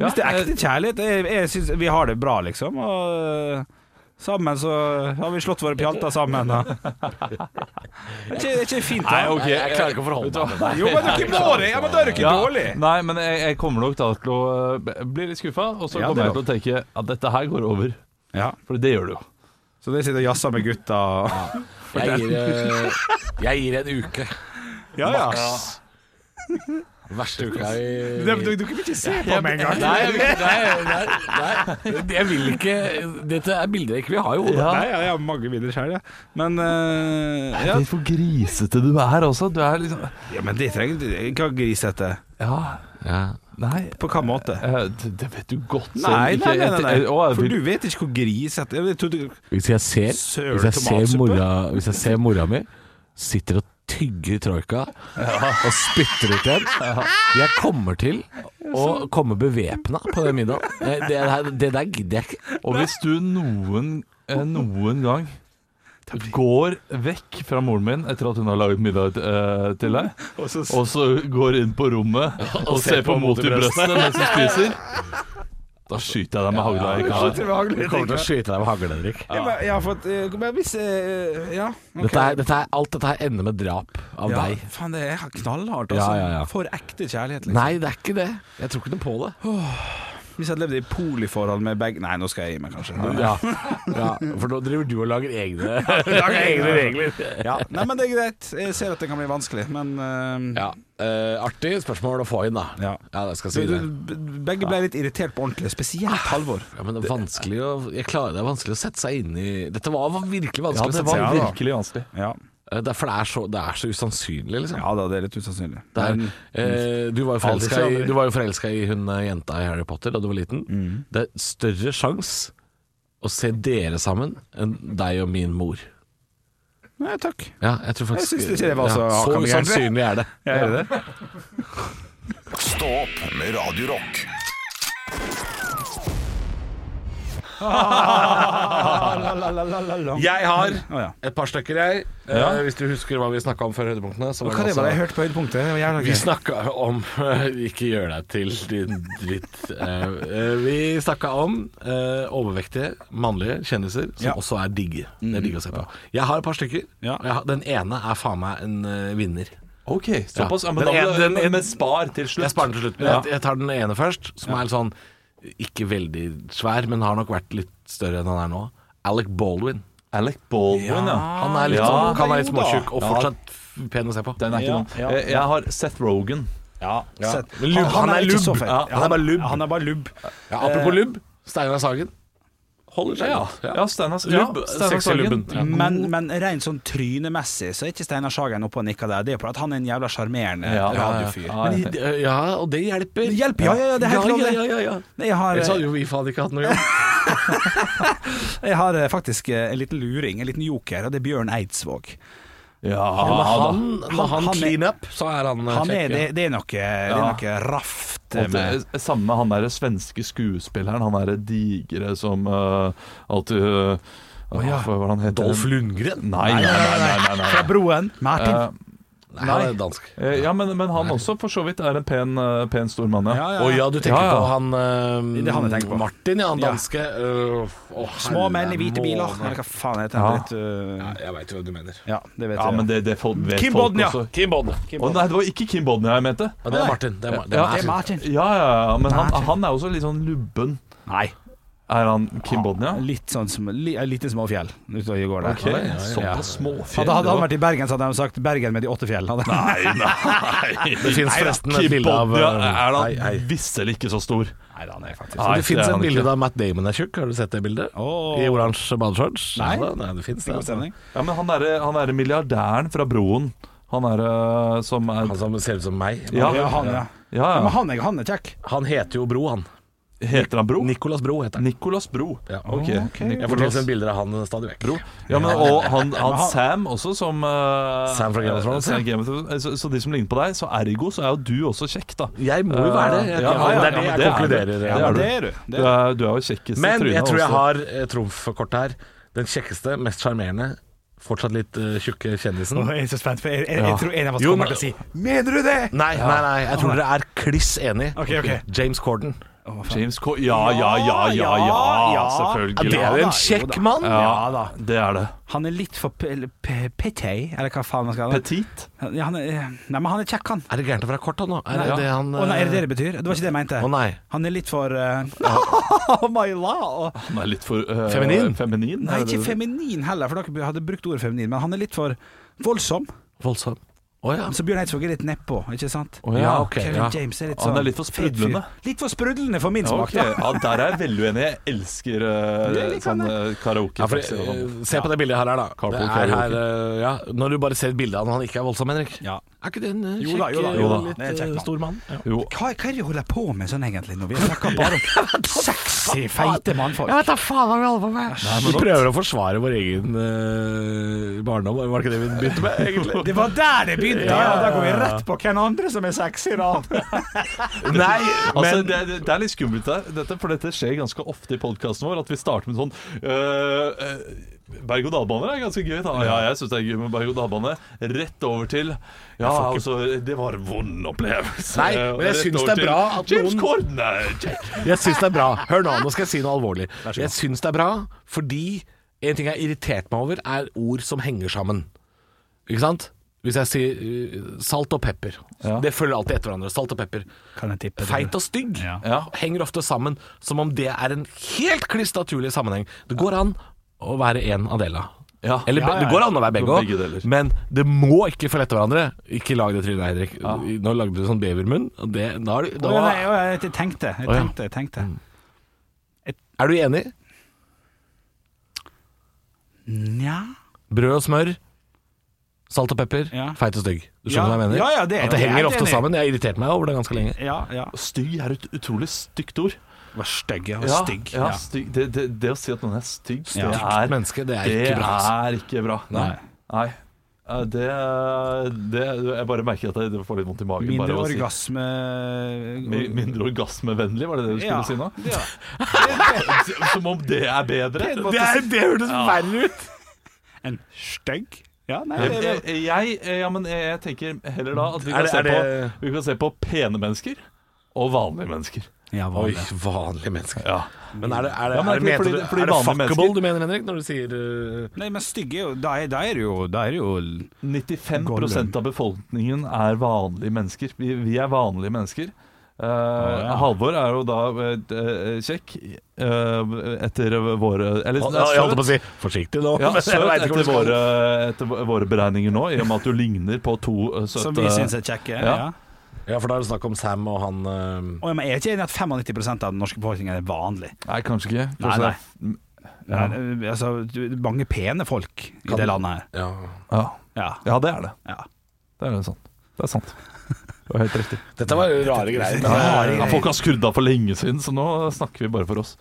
[SPEAKER 5] ja
[SPEAKER 4] Hvis det er ekte kjærlighet jeg, jeg synes Vi har det bra, liksom. Og eh, sammen så har vi slått våre pjalter sammen. Da. Er ikke, er ikke det fint, da?
[SPEAKER 5] Nei, ok.
[SPEAKER 3] Jeg klarer ikke å forholde meg.
[SPEAKER 4] Jo, men dere må det! Ja, men da er dere ikke dårlig.
[SPEAKER 5] Nei, men jeg, jeg kommer nok da til å eh, bli litt skuffa, og så
[SPEAKER 4] Ja,
[SPEAKER 5] kommer
[SPEAKER 4] det
[SPEAKER 5] jeg til å tenke at dette her går over.
[SPEAKER 4] Ja.
[SPEAKER 5] For det gjør det jo.
[SPEAKER 4] Så dere sitter og jazzer med gutta og
[SPEAKER 3] Jeg gir, eh, jeg gir en uke.
[SPEAKER 4] Ja, ja.
[SPEAKER 3] Verste uka i
[SPEAKER 4] Dere dere- dere vil ikke se på meg engang.
[SPEAKER 3] Nei, jeg vil ikke, nei, nei, nei, jeg vil ikke Dette er bilder jeg ikke vil ha i hodet.
[SPEAKER 4] Nei, ja, jeg har mange bilder sjøl, jeg. Men eh, ja.
[SPEAKER 5] Tenk hvor grisete du er også. Du er liksom
[SPEAKER 4] ja, men det trenger du ikke å grise etter.
[SPEAKER 5] Ja,
[SPEAKER 3] Ja.
[SPEAKER 5] nei
[SPEAKER 4] På hvilken måte?
[SPEAKER 5] eh, Det det vet du godt selv.
[SPEAKER 4] Nei, nei,
[SPEAKER 5] Ikke-
[SPEAKER 4] nei, nei,
[SPEAKER 5] jeg-
[SPEAKER 4] nei.
[SPEAKER 5] å, jeg
[SPEAKER 4] For
[SPEAKER 5] vil-
[SPEAKER 4] du vet ikke hvor grisete Jeg trodde
[SPEAKER 3] Hvis jeg ser,
[SPEAKER 4] Søl
[SPEAKER 3] hvis jeg ser,
[SPEAKER 4] tomatsuppe.
[SPEAKER 3] mora, hvis jeg ser mora mi sitter og tygger troika og spytter ut igjen Jeg kommer til å komme bevæpna på den middagen. Eh, Det, der- det der gidder jeg ikke.
[SPEAKER 5] Og hvis du noen, eh, noen gang går vekk fra moren min etter at hun har laget middag eh, til deg,
[SPEAKER 4] Og så
[SPEAKER 5] og så går inn på rommet og, ser på mot i brøstet mens du spiser, da skyter jeg deg med hagla. i
[SPEAKER 4] Slutter
[SPEAKER 5] kar.
[SPEAKER 4] med hagle,
[SPEAKER 3] Jeg kommer til å skyte deg med hagle, Henrik.
[SPEAKER 4] Ja. men Jeg har fått eh, Men hvis eh, Ja. ok.
[SPEAKER 3] Dette er, dette er, alt dette her ender med drap av
[SPEAKER 4] ja,
[SPEAKER 3] deg.
[SPEAKER 4] Faen, det er knallhardt, altså.
[SPEAKER 3] Ja, ja, ja.
[SPEAKER 4] For ekte kjærlighet, liksom.
[SPEAKER 3] Nei, det er ikke det. Jeg tror ikke noe på det.
[SPEAKER 4] Hvis jeg hadde levd i poliforhold med begge Nei, nå skal jeg gi meg, kanskje.
[SPEAKER 3] Ja, ja for nå driver du og lager egne,
[SPEAKER 4] egne
[SPEAKER 3] regler. Ja.
[SPEAKER 4] Nei, men det er greit. Jeg ser at det kan bli vanskelig, men eh,
[SPEAKER 3] Ja, eh, Artig spørsmål å få inn, da.
[SPEAKER 4] Ja.
[SPEAKER 3] jeg skal
[SPEAKER 4] så
[SPEAKER 3] si det. Ah.
[SPEAKER 4] du- Begge ble litt irritert på ordentlig, spesielt Halvor.
[SPEAKER 3] Ja, men det er vanskelig å jeg klarer, Det er vanskelig å sette seg inn i Dette var var virkelig
[SPEAKER 5] Ja,
[SPEAKER 3] vanskelig
[SPEAKER 5] det
[SPEAKER 3] å sette seg
[SPEAKER 5] var
[SPEAKER 3] inn i.
[SPEAKER 4] da.
[SPEAKER 5] virkelig vanskelig.
[SPEAKER 4] Ja.
[SPEAKER 3] Eh, Det er, for det er, så, det er så usannsynlig, liksom.
[SPEAKER 4] ja da, det er litt usannsynlig.
[SPEAKER 3] Det er,
[SPEAKER 4] Men-
[SPEAKER 3] eh, du var jo
[SPEAKER 5] Aldri
[SPEAKER 3] forelska i,
[SPEAKER 5] aldri.
[SPEAKER 3] du var jo forelska i hun eh, jenta i Harry Potter da du var liten.
[SPEAKER 4] Mm.
[SPEAKER 3] Det er større sjanse å se dere sammen enn deg og min mor.
[SPEAKER 4] Nei, takk.
[SPEAKER 3] Ja, jeg tror faktisk
[SPEAKER 4] Jeg synes ikke det var så
[SPEAKER 3] Så
[SPEAKER 4] hakkande gærent, det.
[SPEAKER 3] usannsynlig er det.
[SPEAKER 4] Jeg gjør det.
[SPEAKER 1] Stå opp med Radio Rock.
[SPEAKER 3] Jeg har
[SPEAKER 4] Å, ja.
[SPEAKER 3] et par stykker, jeg. Eh, Hvis du husker hva vi snakka om før høydepunktene. så var
[SPEAKER 4] Hva det
[SPEAKER 3] masse-
[SPEAKER 4] var det jeg hørte på høydepunktet? Det var jævla
[SPEAKER 3] Vi
[SPEAKER 4] gøy.
[SPEAKER 3] snakka om Ikke gjør deg til din dritt. Eh, eh, Vi snakka om eh, overvektige mannlige kjendiser som
[SPEAKER 4] Ja.
[SPEAKER 3] også er digge.
[SPEAKER 5] Mm.
[SPEAKER 3] Det er digg å se på. Jeg har et par stykker.
[SPEAKER 4] Ja.
[SPEAKER 3] og jeg har- Den ene er faen meg en eh, vinner.
[SPEAKER 5] Ok, såpass. Ja, men,
[SPEAKER 3] Den
[SPEAKER 5] da,
[SPEAKER 3] ene- den
[SPEAKER 5] men-
[SPEAKER 3] ene-
[SPEAKER 5] men spar til slutt.
[SPEAKER 3] Jeg sparer den til slutt. Men
[SPEAKER 5] Ja.
[SPEAKER 3] jeg, jeg tar den ene først, som er litt sånn ikke veldig svær, men har nok vært litt større enn han er nå. Alec Baldwin.
[SPEAKER 5] Alec Baldwin, ja.
[SPEAKER 3] Han er litt
[SPEAKER 5] Ja.
[SPEAKER 3] sånn, kan være litt
[SPEAKER 4] Jo da.
[SPEAKER 3] småtjukk og
[SPEAKER 5] Ja.
[SPEAKER 3] fortsatt f- pen å se på.
[SPEAKER 5] Den er ikke
[SPEAKER 4] Ja,
[SPEAKER 5] noen.
[SPEAKER 4] ja.
[SPEAKER 5] Jeg, jeg har Seth Rogan.
[SPEAKER 4] Ja, sett.
[SPEAKER 3] Men lubb, han er
[SPEAKER 4] ikke
[SPEAKER 3] lubb.
[SPEAKER 4] så fett.
[SPEAKER 5] Ja, han er bare lubb.
[SPEAKER 4] Han er bare lubb.
[SPEAKER 3] Ja,
[SPEAKER 5] Eh.
[SPEAKER 3] apropos lubb. Steinar Sagen. Holder seg, ja.
[SPEAKER 5] Ja, Steinar
[SPEAKER 3] Lubb,
[SPEAKER 5] Steinar
[SPEAKER 3] sexy
[SPEAKER 5] Sagen.
[SPEAKER 3] lubben. Ja.
[SPEAKER 4] Men, men rent sånn trynemessig så er ikke Steinar Sagen oppe og nikker der. Det er jo på at han er en jævla sjarmerende
[SPEAKER 5] Ja, ja, ja.
[SPEAKER 4] radiofyr.
[SPEAKER 5] Ja,
[SPEAKER 3] Men, i- ja, og det hjelper.
[SPEAKER 4] Ah, Det hjelper, ja, ja, ja, det er helt
[SPEAKER 3] ja,
[SPEAKER 4] lov, det.
[SPEAKER 3] ja, ja, ja.
[SPEAKER 4] Jeg har,
[SPEAKER 3] Ellers hadde jo vi faen ikke hatt noe jobb.
[SPEAKER 4] jeg har eh, faktisk eh, en liten luring, en liten joker, og det er Bjørn Eidsvåg.
[SPEAKER 5] Ja,
[SPEAKER 3] Når
[SPEAKER 5] da.
[SPEAKER 3] han, når han
[SPEAKER 4] Ah, han er-
[SPEAKER 3] clean up, så er han eh,
[SPEAKER 4] Han er,
[SPEAKER 3] kjekk,
[SPEAKER 4] det,
[SPEAKER 3] ja.
[SPEAKER 4] det er noe, det er
[SPEAKER 5] Ja.
[SPEAKER 4] noe raft eh,
[SPEAKER 5] Og
[SPEAKER 4] med
[SPEAKER 5] det- Samme med han derre svenske skuespilleren, han derre digre som eh, alltid uh,
[SPEAKER 4] ja.
[SPEAKER 5] Hva var det han heter?
[SPEAKER 3] Dolph Lundgren?
[SPEAKER 5] Nei, nei, nei. nei, nei, nei,
[SPEAKER 4] Fra broen. Martin.
[SPEAKER 5] Eh,
[SPEAKER 3] Nei, han er dansk.
[SPEAKER 5] eh, ja, men, men han også for så vidt er en pen, eh, pen stor mann, ja.
[SPEAKER 4] Ja,
[SPEAKER 3] Å ja, du tenker
[SPEAKER 5] Ja, ja.
[SPEAKER 3] på han eh,
[SPEAKER 4] Det er han jeg tenker på.
[SPEAKER 3] Martin, ja, han
[SPEAKER 4] Ja.
[SPEAKER 3] danske. Øh, å,
[SPEAKER 4] Små menn i hvite
[SPEAKER 3] herre
[SPEAKER 4] biler.
[SPEAKER 3] måne.
[SPEAKER 4] Eller hva faen heter
[SPEAKER 5] Ja.
[SPEAKER 4] den? dritt,
[SPEAKER 3] Jeg veit jo hva du mener.
[SPEAKER 4] uh, Ja, det vet
[SPEAKER 5] Ja, men det,
[SPEAKER 4] jeg.
[SPEAKER 5] det folk, vet
[SPEAKER 4] Kim
[SPEAKER 5] folk
[SPEAKER 4] Bodnia.
[SPEAKER 5] også.
[SPEAKER 3] Kim Bodne.
[SPEAKER 5] Å nei, det var ikke Kim Bodnia jeg mente.
[SPEAKER 3] Ja, det er Martin. Det er, Mar- det er
[SPEAKER 5] Ja,
[SPEAKER 4] Det er
[SPEAKER 3] Martin.
[SPEAKER 4] Martin.
[SPEAKER 5] Ja, ja, ja, men han,
[SPEAKER 4] Martin.
[SPEAKER 5] han er også litt sånn lubben.
[SPEAKER 4] Nei.
[SPEAKER 5] Er han Kim Bodnia?
[SPEAKER 4] Litt sånn som li, et lite småfjell ute og går der.
[SPEAKER 5] Ok, såpass småfjell.
[SPEAKER 4] Hadde, hadde han vært i Bergen, så hadde de sagt 'Bergen med de åtte fjell'. Hadde.
[SPEAKER 5] Nei, nei.
[SPEAKER 3] Det fins forresten et
[SPEAKER 5] Kim
[SPEAKER 3] bilde av
[SPEAKER 5] Bodnia
[SPEAKER 3] øh,
[SPEAKER 5] er da
[SPEAKER 3] nei, nei.
[SPEAKER 5] visselig ikke så stor.
[SPEAKER 4] Nei, da, nei, faktisk.
[SPEAKER 5] Nei,
[SPEAKER 3] Det fins
[SPEAKER 5] er
[SPEAKER 3] et
[SPEAKER 5] han
[SPEAKER 3] bilde
[SPEAKER 5] ikke.
[SPEAKER 3] da Matt Damon er tjukk. Har du sett det bildet?
[SPEAKER 4] Åh.
[SPEAKER 3] I oransje badeshorts?
[SPEAKER 4] Nei.
[SPEAKER 3] Ja, nei, det fins
[SPEAKER 4] Det er god
[SPEAKER 3] det.
[SPEAKER 4] stemning.
[SPEAKER 5] Ja, men han derre han derre milliardæren fra Broen, han derre som er
[SPEAKER 3] Han som ser ut som meg.
[SPEAKER 5] Ja,
[SPEAKER 4] Ja, han, ja.
[SPEAKER 5] ja,
[SPEAKER 4] Men
[SPEAKER 5] ja.
[SPEAKER 4] han er, han er kjekk.
[SPEAKER 3] Han heter jo Bro, han.
[SPEAKER 5] Heter han Bro?
[SPEAKER 3] Nicolas Bro heter han.
[SPEAKER 5] Nicolas Bro.
[SPEAKER 3] Ja.
[SPEAKER 5] Ok.
[SPEAKER 4] Ok.
[SPEAKER 3] Jeg får tilsendt bilder av han stadig vekk.
[SPEAKER 5] Ja, men og han, han Sam også, som eh,
[SPEAKER 3] Sam fra Game of Thrones,
[SPEAKER 5] eh,
[SPEAKER 3] ja.
[SPEAKER 5] Game of Thrones. Så, så de som ligner på deg, så ergo så er jo du også kjekk, da.
[SPEAKER 3] Jeg må jo være det. Jeg-
[SPEAKER 5] Ja, ja, ja,
[SPEAKER 3] det er det jeg
[SPEAKER 5] men det er du.
[SPEAKER 3] konkluderer.
[SPEAKER 5] Det
[SPEAKER 3] ja.
[SPEAKER 5] er
[SPEAKER 4] det er du.
[SPEAKER 5] Du er, du er jo kjekkest i
[SPEAKER 3] Men
[SPEAKER 5] trynet.
[SPEAKER 3] jeg tror jeg
[SPEAKER 5] også.
[SPEAKER 3] har eh, trumfkort her. Den kjekkeste, mest sjarmerende, fortsatt litt eh, tjukke kjendisen.
[SPEAKER 4] Åh, jeg er så spent, for jeg, jeg, jeg tror en av oss
[SPEAKER 3] Jo, men-
[SPEAKER 4] kommer til å si Mener du det?!
[SPEAKER 3] Nei, nei, nei, jeg tror dere er kliss enig.
[SPEAKER 4] Ok, ok.
[SPEAKER 3] James Corden.
[SPEAKER 5] James Co... Ja, ja, ja, ja, ja,
[SPEAKER 4] Ja, ja.
[SPEAKER 5] selvfølgelig.
[SPEAKER 3] det er jo
[SPEAKER 4] da,
[SPEAKER 3] en kjekk
[SPEAKER 4] jo da.
[SPEAKER 3] mann!
[SPEAKER 5] Ja,
[SPEAKER 4] Ja da.
[SPEAKER 5] Det er det.
[SPEAKER 4] Han er litt for pe- pe- petit, eller hva faen man skal kalle det.
[SPEAKER 5] Petit.
[SPEAKER 4] Ja, han er, eh, nei, men han er kjekk, han.
[SPEAKER 3] Er det gærent å være kort, da? nå? Er det
[SPEAKER 5] Nei.
[SPEAKER 3] det han
[SPEAKER 4] Å nei, er det
[SPEAKER 3] eh,
[SPEAKER 4] det det betyr? Det var ikke det jeg mente.
[SPEAKER 3] Å nei.
[SPEAKER 4] Han er litt for eh, Oh my lord.
[SPEAKER 5] Han er litt for eh,
[SPEAKER 3] Feminin?
[SPEAKER 5] feminin er
[SPEAKER 4] Nei,
[SPEAKER 5] det
[SPEAKER 4] ikke
[SPEAKER 5] det?
[SPEAKER 4] feminin heller, for dere hadde brukt ordet feminin, men han er litt for voldsom.
[SPEAKER 3] Voldsom. Å ja.
[SPEAKER 4] Så Bjørn Eidsvåg er litt nedpå, ikke sant?
[SPEAKER 5] Å, ja,
[SPEAKER 3] ok,
[SPEAKER 4] Kevin
[SPEAKER 3] ja.
[SPEAKER 4] James er litt
[SPEAKER 5] Han
[SPEAKER 4] sånn
[SPEAKER 5] er litt for
[SPEAKER 4] fet fyr.
[SPEAKER 5] sprudlende.
[SPEAKER 4] Litt for sprudlende for min
[SPEAKER 5] Ja,
[SPEAKER 4] smak.
[SPEAKER 5] ok. ja, der er jeg veldig uenig. Jeg elsker eh,
[SPEAKER 4] Det liker han,
[SPEAKER 5] sånn eh, karaoke.
[SPEAKER 3] Ja, for,
[SPEAKER 5] faktisk, og sånn.
[SPEAKER 3] eh, se på det bildet her, her da.
[SPEAKER 5] Carpool
[SPEAKER 3] Det er her,
[SPEAKER 5] karaoke.
[SPEAKER 3] eh, ja. Når du bare ser et bilde av han han ikke er voldsom, Henrik.
[SPEAKER 4] Ja.
[SPEAKER 3] Er ikke det en eh,
[SPEAKER 4] Jo
[SPEAKER 3] kjekk,
[SPEAKER 4] da, jo da,
[SPEAKER 3] eh,
[SPEAKER 5] jo da.
[SPEAKER 3] litt
[SPEAKER 4] Det er en kjekk
[SPEAKER 3] eh,
[SPEAKER 4] mann.
[SPEAKER 3] stor mann? Ja.
[SPEAKER 5] jo.
[SPEAKER 4] Hva, hva er det vi holder på med sånn egentlig nå? Vi snakker bare om sexy, feite mannfolk.
[SPEAKER 3] vet da faen hva vi holder på med. vi prøver å forsvare vår egen eh, barndom, var det ikke det vi begynte med, egentlig?
[SPEAKER 4] Det var der det begynte!
[SPEAKER 3] Ja,
[SPEAKER 4] Ja,
[SPEAKER 3] ja,
[SPEAKER 4] Da går vi rett på hvem andre som er sexy, da.
[SPEAKER 3] Nei,
[SPEAKER 5] Altså, det, det- det er litt skummelt der, dette, for dette skjer ganske ofte i podkasten vår. At vi starter med sånn øh, øh, Berg-og-dal-baner er ganske gøy. Da. Ja, jeg syns det er gøy med berg-og-dal-bane. Rett over til Ja, altså, det var en vond opplevelse.
[SPEAKER 3] Nei, men jeg
[SPEAKER 5] Rett
[SPEAKER 3] syns
[SPEAKER 5] over
[SPEAKER 3] det er
[SPEAKER 5] til
[SPEAKER 3] bra at
[SPEAKER 5] James
[SPEAKER 3] noen-
[SPEAKER 5] Corden er kjekk.
[SPEAKER 3] Jeg syns det er bra. Hør nå, nå skal jeg si noe alvorlig. Jeg syns det er bra fordi en ting jeg har irritert meg over, er ord som henger sammen. Ikke sant? Hvis jeg sier eh, salt og pepper.
[SPEAKER 5] Ja.
[SPEAKER 3] Det følger alltid etter hverandre. Salt og pepper.
[SPEAKER 4] Kan jeg tippe
[SPEAKER 3] Feit og stygg
[SPEAKER 4] Ja.
[SPEAKER 5] Ja.
[SPEAKER 3] henger ofte sammen som om det er en helt kliss naturlig sammenheng. Det går an å være en Adela.
[SPEAKER 5] Ja.
[SPEAKER 3] Eller
[SPEAKER 4] Ja, ja, ja.
[SPEAKER 3] det går an å være begge
[SPEAKER 5] Begge
[SPEAKER 3] òg,
[SPEAKER 5] deler.
[SPEAKER 3] men det må ikke følge etter hverandre. Ikke lag det trynet, Henrik. Nå lagde du sånn bevermunn. og Det, da er, du,
[SPEAKER 4] Å, ja,
[SPEAKER 3] da,
[SPEAKER 4] nei, å, ja, jeg tenkte, jeg
[SPEAKER 3] Å, ja.
[SPEAKER 4] tenkte. Jeg tenkte.
[SPEAKER 3] er du enig?
[SPEAKER 5] Mm.
[SPEAKER 4] Nja
[SPEAKER 3] Brød og smør, salt og pepper,
[SPEAKER 4] Ja.
[SPEAKER 3] feit og stygg. Du skjønner
[SPEAKER 4] Ja.
[SPEAKER 3] hva jeg mener?
[SPEAKER 4] Ja, ja, det er-
[SPEAKER 3] At det
[SPEAKER 4] jeg er
[SPEAKER 3] henger
[SPEAKER 4] helt
[SPEAKER 3] ofte
[SPEAKER 4] enig.
[SPEAKER 3] sammen. Jeg har irritert meg over det ganske lenge.
[SPEAKER 4] Ja, ja.
[SPEAKER 5] Stygg er et utrolig stygt ord.
[SPEAKER 4] Var stygg, ja.
[SPEAKER 5] Ja,
[SPEAKER 4] Stygg.
[SPEAKER 5] Ja, stygg. Det, det, det å si at noen er stygg,
[SPEAKER 4] Ja.
[SPEAKER 5] det
[SPEAKER 3] Stygt
[SPEAKER 5] er
[SPEAKER 3] menneske, det er
[SPEAKER 5] Det
[SPEAKER 3] ikke bra. altså.
[SPEAKER 5] er ikke bra.
[SPEAKER 4] Nei.
[SPEAKER 5] Nei. Eh, Det, det Jeg bare merker at jeg får litt vondt i magen.
[SPEAKER 4] Mindre
[SPEAKER 5] bare av å si-
[SPEAKER 4] orgasme
[SPEAKER 5] Mi- Mindre orgasmevennlig, var det det du skulle
[SPEAKER 4] Ja.
[SPEAKER 5] si nå?
[SPEAKER 4] Ja.
[SPEAKER 5] Som om det er bedre?
[SPEAKER 3] Det, er, det hørtes verre ut!
[SPEAKER 4] En stygg? Ja, nei,
[SPEAKER 5] Jeg,
[SPEAKER 4] det,
[SPEAKER 5] Eh, jeg, ja, men jeg jeg tenker heller da at vi
[SPEAKER 3] Er
[SPEAKER 5] kan,
[SPEAKER 3] det-
[SPEAKER 5] se,
[SPEAKER 3] er det-
[SPEAKER 5] på, vi kan se på pene mennesker og vanlige mennesker.
[SPEAKER 4] ja,
[SPEAKER 3] Oi, vanlige mennesker.
[SPEAKER 5] Ja.
[SPEAKER 3] Men er det, er det,
[SPEAKER 5] Ja, men
[SPEAKER 3] er det,
[SPEAKER 5] fordi-
[SPEAKER 3] mener du-
[SPEAKER 5] fordi
[SPEAKER 3] er det
[SPEAKER 5] vanlige
[SPEAKER 3] fuckable
[SPEAKER 5] mennesker-
[SPEAKER 3] du mener, Henrik, når du sier uh,
[SPEAKER 4] Nei, men stygg er jo Da er, da er det jo Da er det jo
[SPEAKER 5] 95 av befolkningen er vanlige mennesker. Vi, vi er vanlige mennesker. Eh,
[SPEAKER 4] ja.
[SPEAKER 5] Halvor er jo da eh, kjekk eh, etter våre Eller
[SPEAKER 3] ja, Jeg holdt på å si forsiktig nå.
[SPEAKER 5] Ja,
[SPEAKER 3] men jeg
[SPEAKER 5] søt
[SPEAKER 3] vet ikke hvor du
[SPEAKER 5] etter
[SPEAKER 3] skal.
[SPEAKER 5] våre, etter våre beregninger nå, i og med at du ligner på to eh, søte
[SPEAKER 4] Som vi syns er kjekke. Ja.
[SPEAKER 5] Ja.
[SPEAKER 3] Ja, for da er det snakk om Sam og han uh,
[SPEAKER 4] Og jeg er ikke enig i at 95 av den norske befolkningen er vanlig. Altså,
[SPEAKER 5] Nei, kanskje ikke. Kanskje
[SPEAKER 4] Nei,
[SPEAKER 5] det er-
[SPEAKER 4] Ja. Altså, du- mange pene folk i
[SPEAKER 3] Kan-
[SPEAKER 4] det landet her.
[SPEAKER 3] ja.
[SPEAKER 5] Ja.
[SPEAKER 4] Ja.
[SPEAKER 5] ja, det er det.
[SPEAKER 4] ja.
[SPEAKER 5] Det er det sant. Det er sant. Det var helt riktig.
[SPEAKER 3] Dette var jo rare greier.
[SPEAKER 4] Rare
[SPEAKER 5] Ja, folk har skrudd av for lenge siden, så nå snakker vi bare for oss.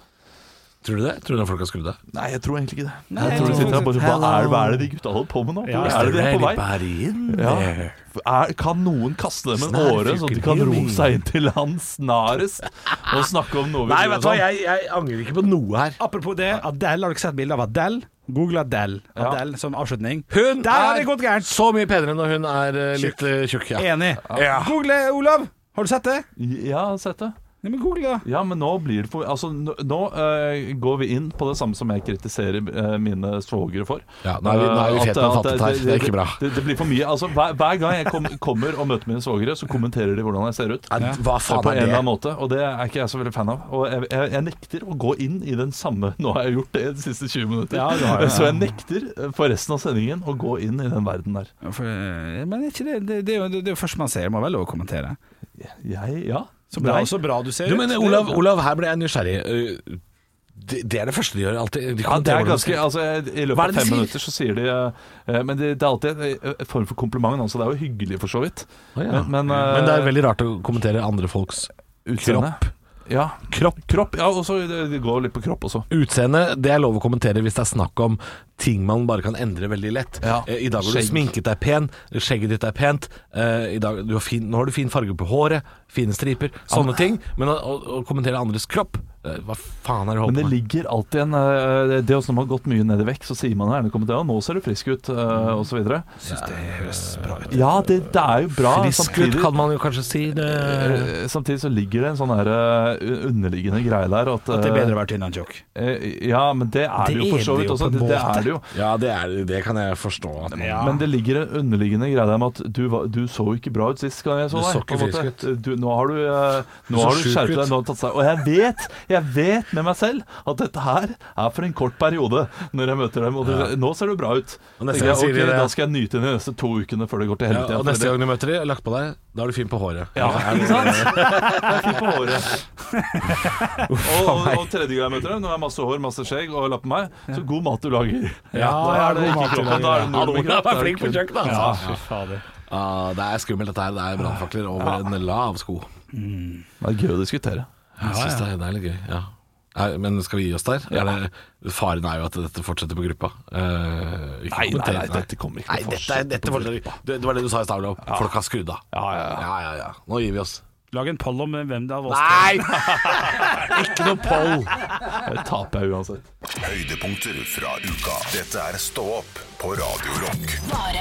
[SPEAKER 3] Tror du det? Tror du folk har skrudd av?
[SPEAKER 5] Nei, jeg tror egentlig ikke det.
[SPEAKER 4] Nei,
[SPEAKER 5] jeg tror de
[SPEAKER 4] jeg tror
[SPEAKER 5] sitter der bare Hva
[SPEAKER 4] faktisk-
[SPEAKER 5] er, hva er det de gutta holder på med nå?
[SPEAKER 4] Ja,
[SPEAKER 5] Hvor er det de er på vei?
[SPEAKER 3] Everybody in
[SPEAKER 5] Ja.
[SPEAKER 3] there.
[SPEAKER 5] Er, kan noen kaste dem en
[SPEAKER 3] Snarere
[SPEAKER 5] åre, så de kan
[SPEAKER 3] fucking
[SPEAKER 5] ro
[SPEAKER 3] healing.
[SPEAKER 5] seg inn til han snarest og snakke om noe vi
[SPEAKER 3] Nei,
[SPEAKER 5] bryr
[SPEAKER 3] vet
[SPEAKER 5] oss
[SPEAKER 3] du hva,
[SPEAKER 5] om?
[SPEAKER 3] jeg, jeg angrer ikke på noe her.
[SPEAKER 4] Apropos det, Adele, har dere sett bilde av Adele? Google Adele,
[SPEAKER 5] Ja.
[SPEAKER 4] Adele som avslutning.
[SPEAKER 3] Hun
[SPEAKER 4] Der har det gått
[SPEAKER 3] er
[SPEAKER 4] gærent!
[SPEAKER 3] så mye penere når hun er eh, litt eh, tjukk. Ja.
[SPEAKER 4] Enig.
[SPEAKER 3] Ja.
[SPEAKER 4] Google, Olav! Har du sett det?
[SPEAKER 5] Ja, sett det.
[SPEAKER 4] Nei, men google, da.
[SPEAKER 5] Ja, men nå blir det for Altså, nå, nå eh, går vi inn på det samme som jeg kritiserer eh, mine svogere for.
[SPEAKER 3] Ja, nå er vi- nå er vi
[SPEAKER 5] Eh,
[SPEAKER 3] fete og
[SPEAKER 5] at- at
[SPEAKER 3] fattet her. Det er ikke bra.
[SPEAKER 5] Det, det blir for mye. Altså, hver, hver gang jeg kom, kommer og møter mine svogere, så kommenterer de hvordan jeg ser ut.
[SPEAKER 3] Ja, Hva faen
[SPEAKER 5] på en
[SPEAKER 3] er
[SPEAKER 5] eller annen
[SPEAKER 3] det?
[SPEAKER 5] måte, og det er ikke jeg så veldig fan av. Og jeg, jeg, jeg nekter å gå inn i den samme Nå har jeg gjort det de siste 20 minutter.
[SPEAKER 4] Ja, det har jeg, ja.
[SPEAKER 5] Så jeg nekter eh, for resten av sendingen å gå inn i den verden der.
[SPEAKER 4] Ja, For, eh, men er ikke det, det, det, er jo- det, det er jo først man ser, må vel lov å kommentere.
[SPEAKER 5] Jeg, ja.
[SPEAKER 4] Så bra,
[SPEAKER 5] Nei.
[SPEAKER 4] så bra du ser
[SPEAKER 3] Du
[SPEAKER 4] ut.
[SPEAKER 3] mener,
[SPEAKER 4] Det er jo
[SPEAKER 3] Olav,
[SPEAKER 4] bra.
[SPEAKER 3] Olav her ble jeg nysgjerrig. Uh, Det, det er det første de gjør alltid. De
[SPEAKER 5] Ja, det
[SPEAKER 3] kommenterer
[SPEAKER 5] er
[SPEAKER 3] hvordan
[SPEAKER 5] ganske,
[SPEAKER 3] ser ut.
[SPEAKER 5] altså,
[SPEAKER 3] Hva
[SPEAKER 5] I løpet
[SPEAKER 3] er
[SPEAKER 5] av
[SPEAKER 3] det de
[SPEAKER 5] fem
[SPEAKER 3] sier?
[SPEAKER 5] minutter så sier de eh, Men det, det er alltid en eh, form for kompliment. Altså, det er jo hyggelig, for så vidt.
[SPEAKER 3] Å, ja.
[SPEAKER 5] Men, men, eh,
[SPEAKER 3] Men det er veldig rart å kommentere andre folks
[SPEAKER 5] utseende.
[SPEAKER 3] kropp.
[SPEAKER 5] Ja. Kropp. ja, og så det det går litt på kropp også.
[SPEAKER 3] Utseende, det er lov å kommentere hvis det er snakk om ting man bare kan endre veldig lett.
[SPEAKER 5] Ja.
[SPEAKER 3] Eh, I dag har du
[SPEAKER 5] Skjegg.
[SPEAKER 3] sminket deg pen, skjegget ditt er pent, eh, i dag, du har fin, nå har du fin farge på håret, fine striper, sånne ting. Men å, å- å kommentere andres kropp, eh, hva faen er det du
[SPEAKER 5] Men det
[SPEAKER 3] holder på med?
[SPEAKER 5] ligger alltid en eh, Det er også når man har gått mye ned i vekt, så sier man gjerne i kommentarene 'nå ser du frisk ut', eh, og så videre.
[SPEAKER 4] Syns det høres bra ut.
[SPEAKER 5] Ja, det, det er jo bra.
[SPEAKER 3] Frisk ut
[SPEAKER 5] samtidig-
[SPEAKER 3] kan man jo kanskje si. Det,
[SPEAKER 5] Eh, Samtidig så ligger det en sånn her eh, underliggende greie der at,
[SPEAKER 4] At det er
[SPEAKER 5] eh,
[SPEAKER 4] bedre å være tynn enn tjukk.
[SPEAKER 5] eh, Ja, men det er det,
[SPEAKER 4] Det
[SPEAKER 5] jo for
[SPEAKER 4] er
[SPEAKER 5] så
[SPEAKER 4] det
[SPEAKER 5] vidt
[SPEAKER 4] jo
[SPEAKER 5] også.
[SPEAKER 4] på en
[SPEAKER 5] Det, det
[SPEAKER 4] måte.
[SPEAKER 5] er det jo.
[SPEAKER 3] ja, det, er, det kan jeg forstå. At man,
[SPEAKER 4] Ja.
[SPEAKER 5] Men det ligger en underliggende greie der med at du, var- du så jo ikke bra ut sist gang jeg
[SPEAKER 3] Du
[SPEAKER 5] så deg.
[SPEAKER 3] så ikke
[SPEAKER 5] på en måte.
[SPEAKER 3] frisk ut.
[SPEAKER 5] Du, nå har du, eh,
[SPEAKER 3] Du
[SPEAKER 5] nå
[SPEAKER 3] så
[SPEAKER 5] har du
[SPEAKER 3] sjuk
[SPEAKER 5] skjerpet
[SPEAKER 3] ut.
[SPEAKER 5] deg, nå har du tatt seg Og jeg vet, jeg vet med meg selv at dette her er for en kort periode når jeg møter dem. Og du, nå ser du bra ut.
[SPEAKER 3] Og neste
[SPEAKER 5] Tenker
[SPEAKER 3] gang
[SPEAKER 5] jeg,
[SPEAKER 3] sier de
[SPEAKER 5] ok,
[SPEAKER 3] det.
[SPEAKER 5] Da skal jeg nyte de neste to ukene før det går til
[SPEAKER 3] ja, og
[SPEAKER 5] helvete. igjen,
[SPEAKER 3] neste
[SPEAKER 5] for
[SPEAKER 3] gang du møter dem, lagt på deg, da er du fin på håret.
[SPEAKER 5] Ja,
[SPEAKER 3] er
[SPEAKER 5] ikke
[SPEAKER 3] det-
[SPEAKER 5] sant? Jeg er fin på håret. og, og, og tredje gang jeg møter deg, når jeg har masse hår, masse skjegg og lapp på meg, så god mat du lager.
[SPEAKER 4] Ja,
[SPEAKER 5] da er det
[SPEAKER 4] god
[SPEAKER 5] ikke
[SPEAKER 4] mat du
[SPEAKER 5] kroppen, da er det
[SPEAKER 3] Ja,
[SPEAKER 5] null med
[SPEAKER 3] Olav
[SPEAKER 5] kropp, da
[SPEAKER 3] er
[SPEAKER 5] det
[SPEAKER 3] flink på
[SPEAKER 5] kun-
[SPEAKER 3] kjøkkenet,
[SPEAKER 4] Ja,
[SPEAKER 3] altså.
[SPEAKER 4] fy fader.
[SPEAKER 3] Ah, det er skummelt dette her. Det er brannfakler over en lav sko.
[SPEAKER 5] Det er gøy å diskutere.
[SPEAKER 3] Jeg synes det, er- det er litt gøy, ja. Nei, Men skal vi gi oss der? Er det, faren er jo at dette fortsetter på gruppa. Eh, ikke
[SPEAKER 5] Nei, nei,
[SPEAKER 3] kommenter-
[SPEAKER 5] nei, dette kommer ikke
[SPEAKER 3] Nei,
[SPEAKER 5] til å
[SPEAKER 3] dette, er-
[SPEAKER 5] fortsette
[SPEAKER 3] dette
[SPEAKER 5] på
[SPEAKER 3] fortsetter ikke. Det, det var det du sa i stad, Olav. Folk har skrudd av.
[SPEAKER 5] Ja, ja, ja.
[SPEAKER 3] Ja, ja, ja. Nå gir vi oss.
[SPEAKER 4] Lag en poll om hvem det er av oss.
[SPEAKER 3] Nei! ikke noe poll!
[SPEAKER 5] Det taper jeg uansett.
[SPEAKER 1] Høydepunkter fra uka. Dette er Stå opp på Radio Rock.
[SPEAKER 2] Bare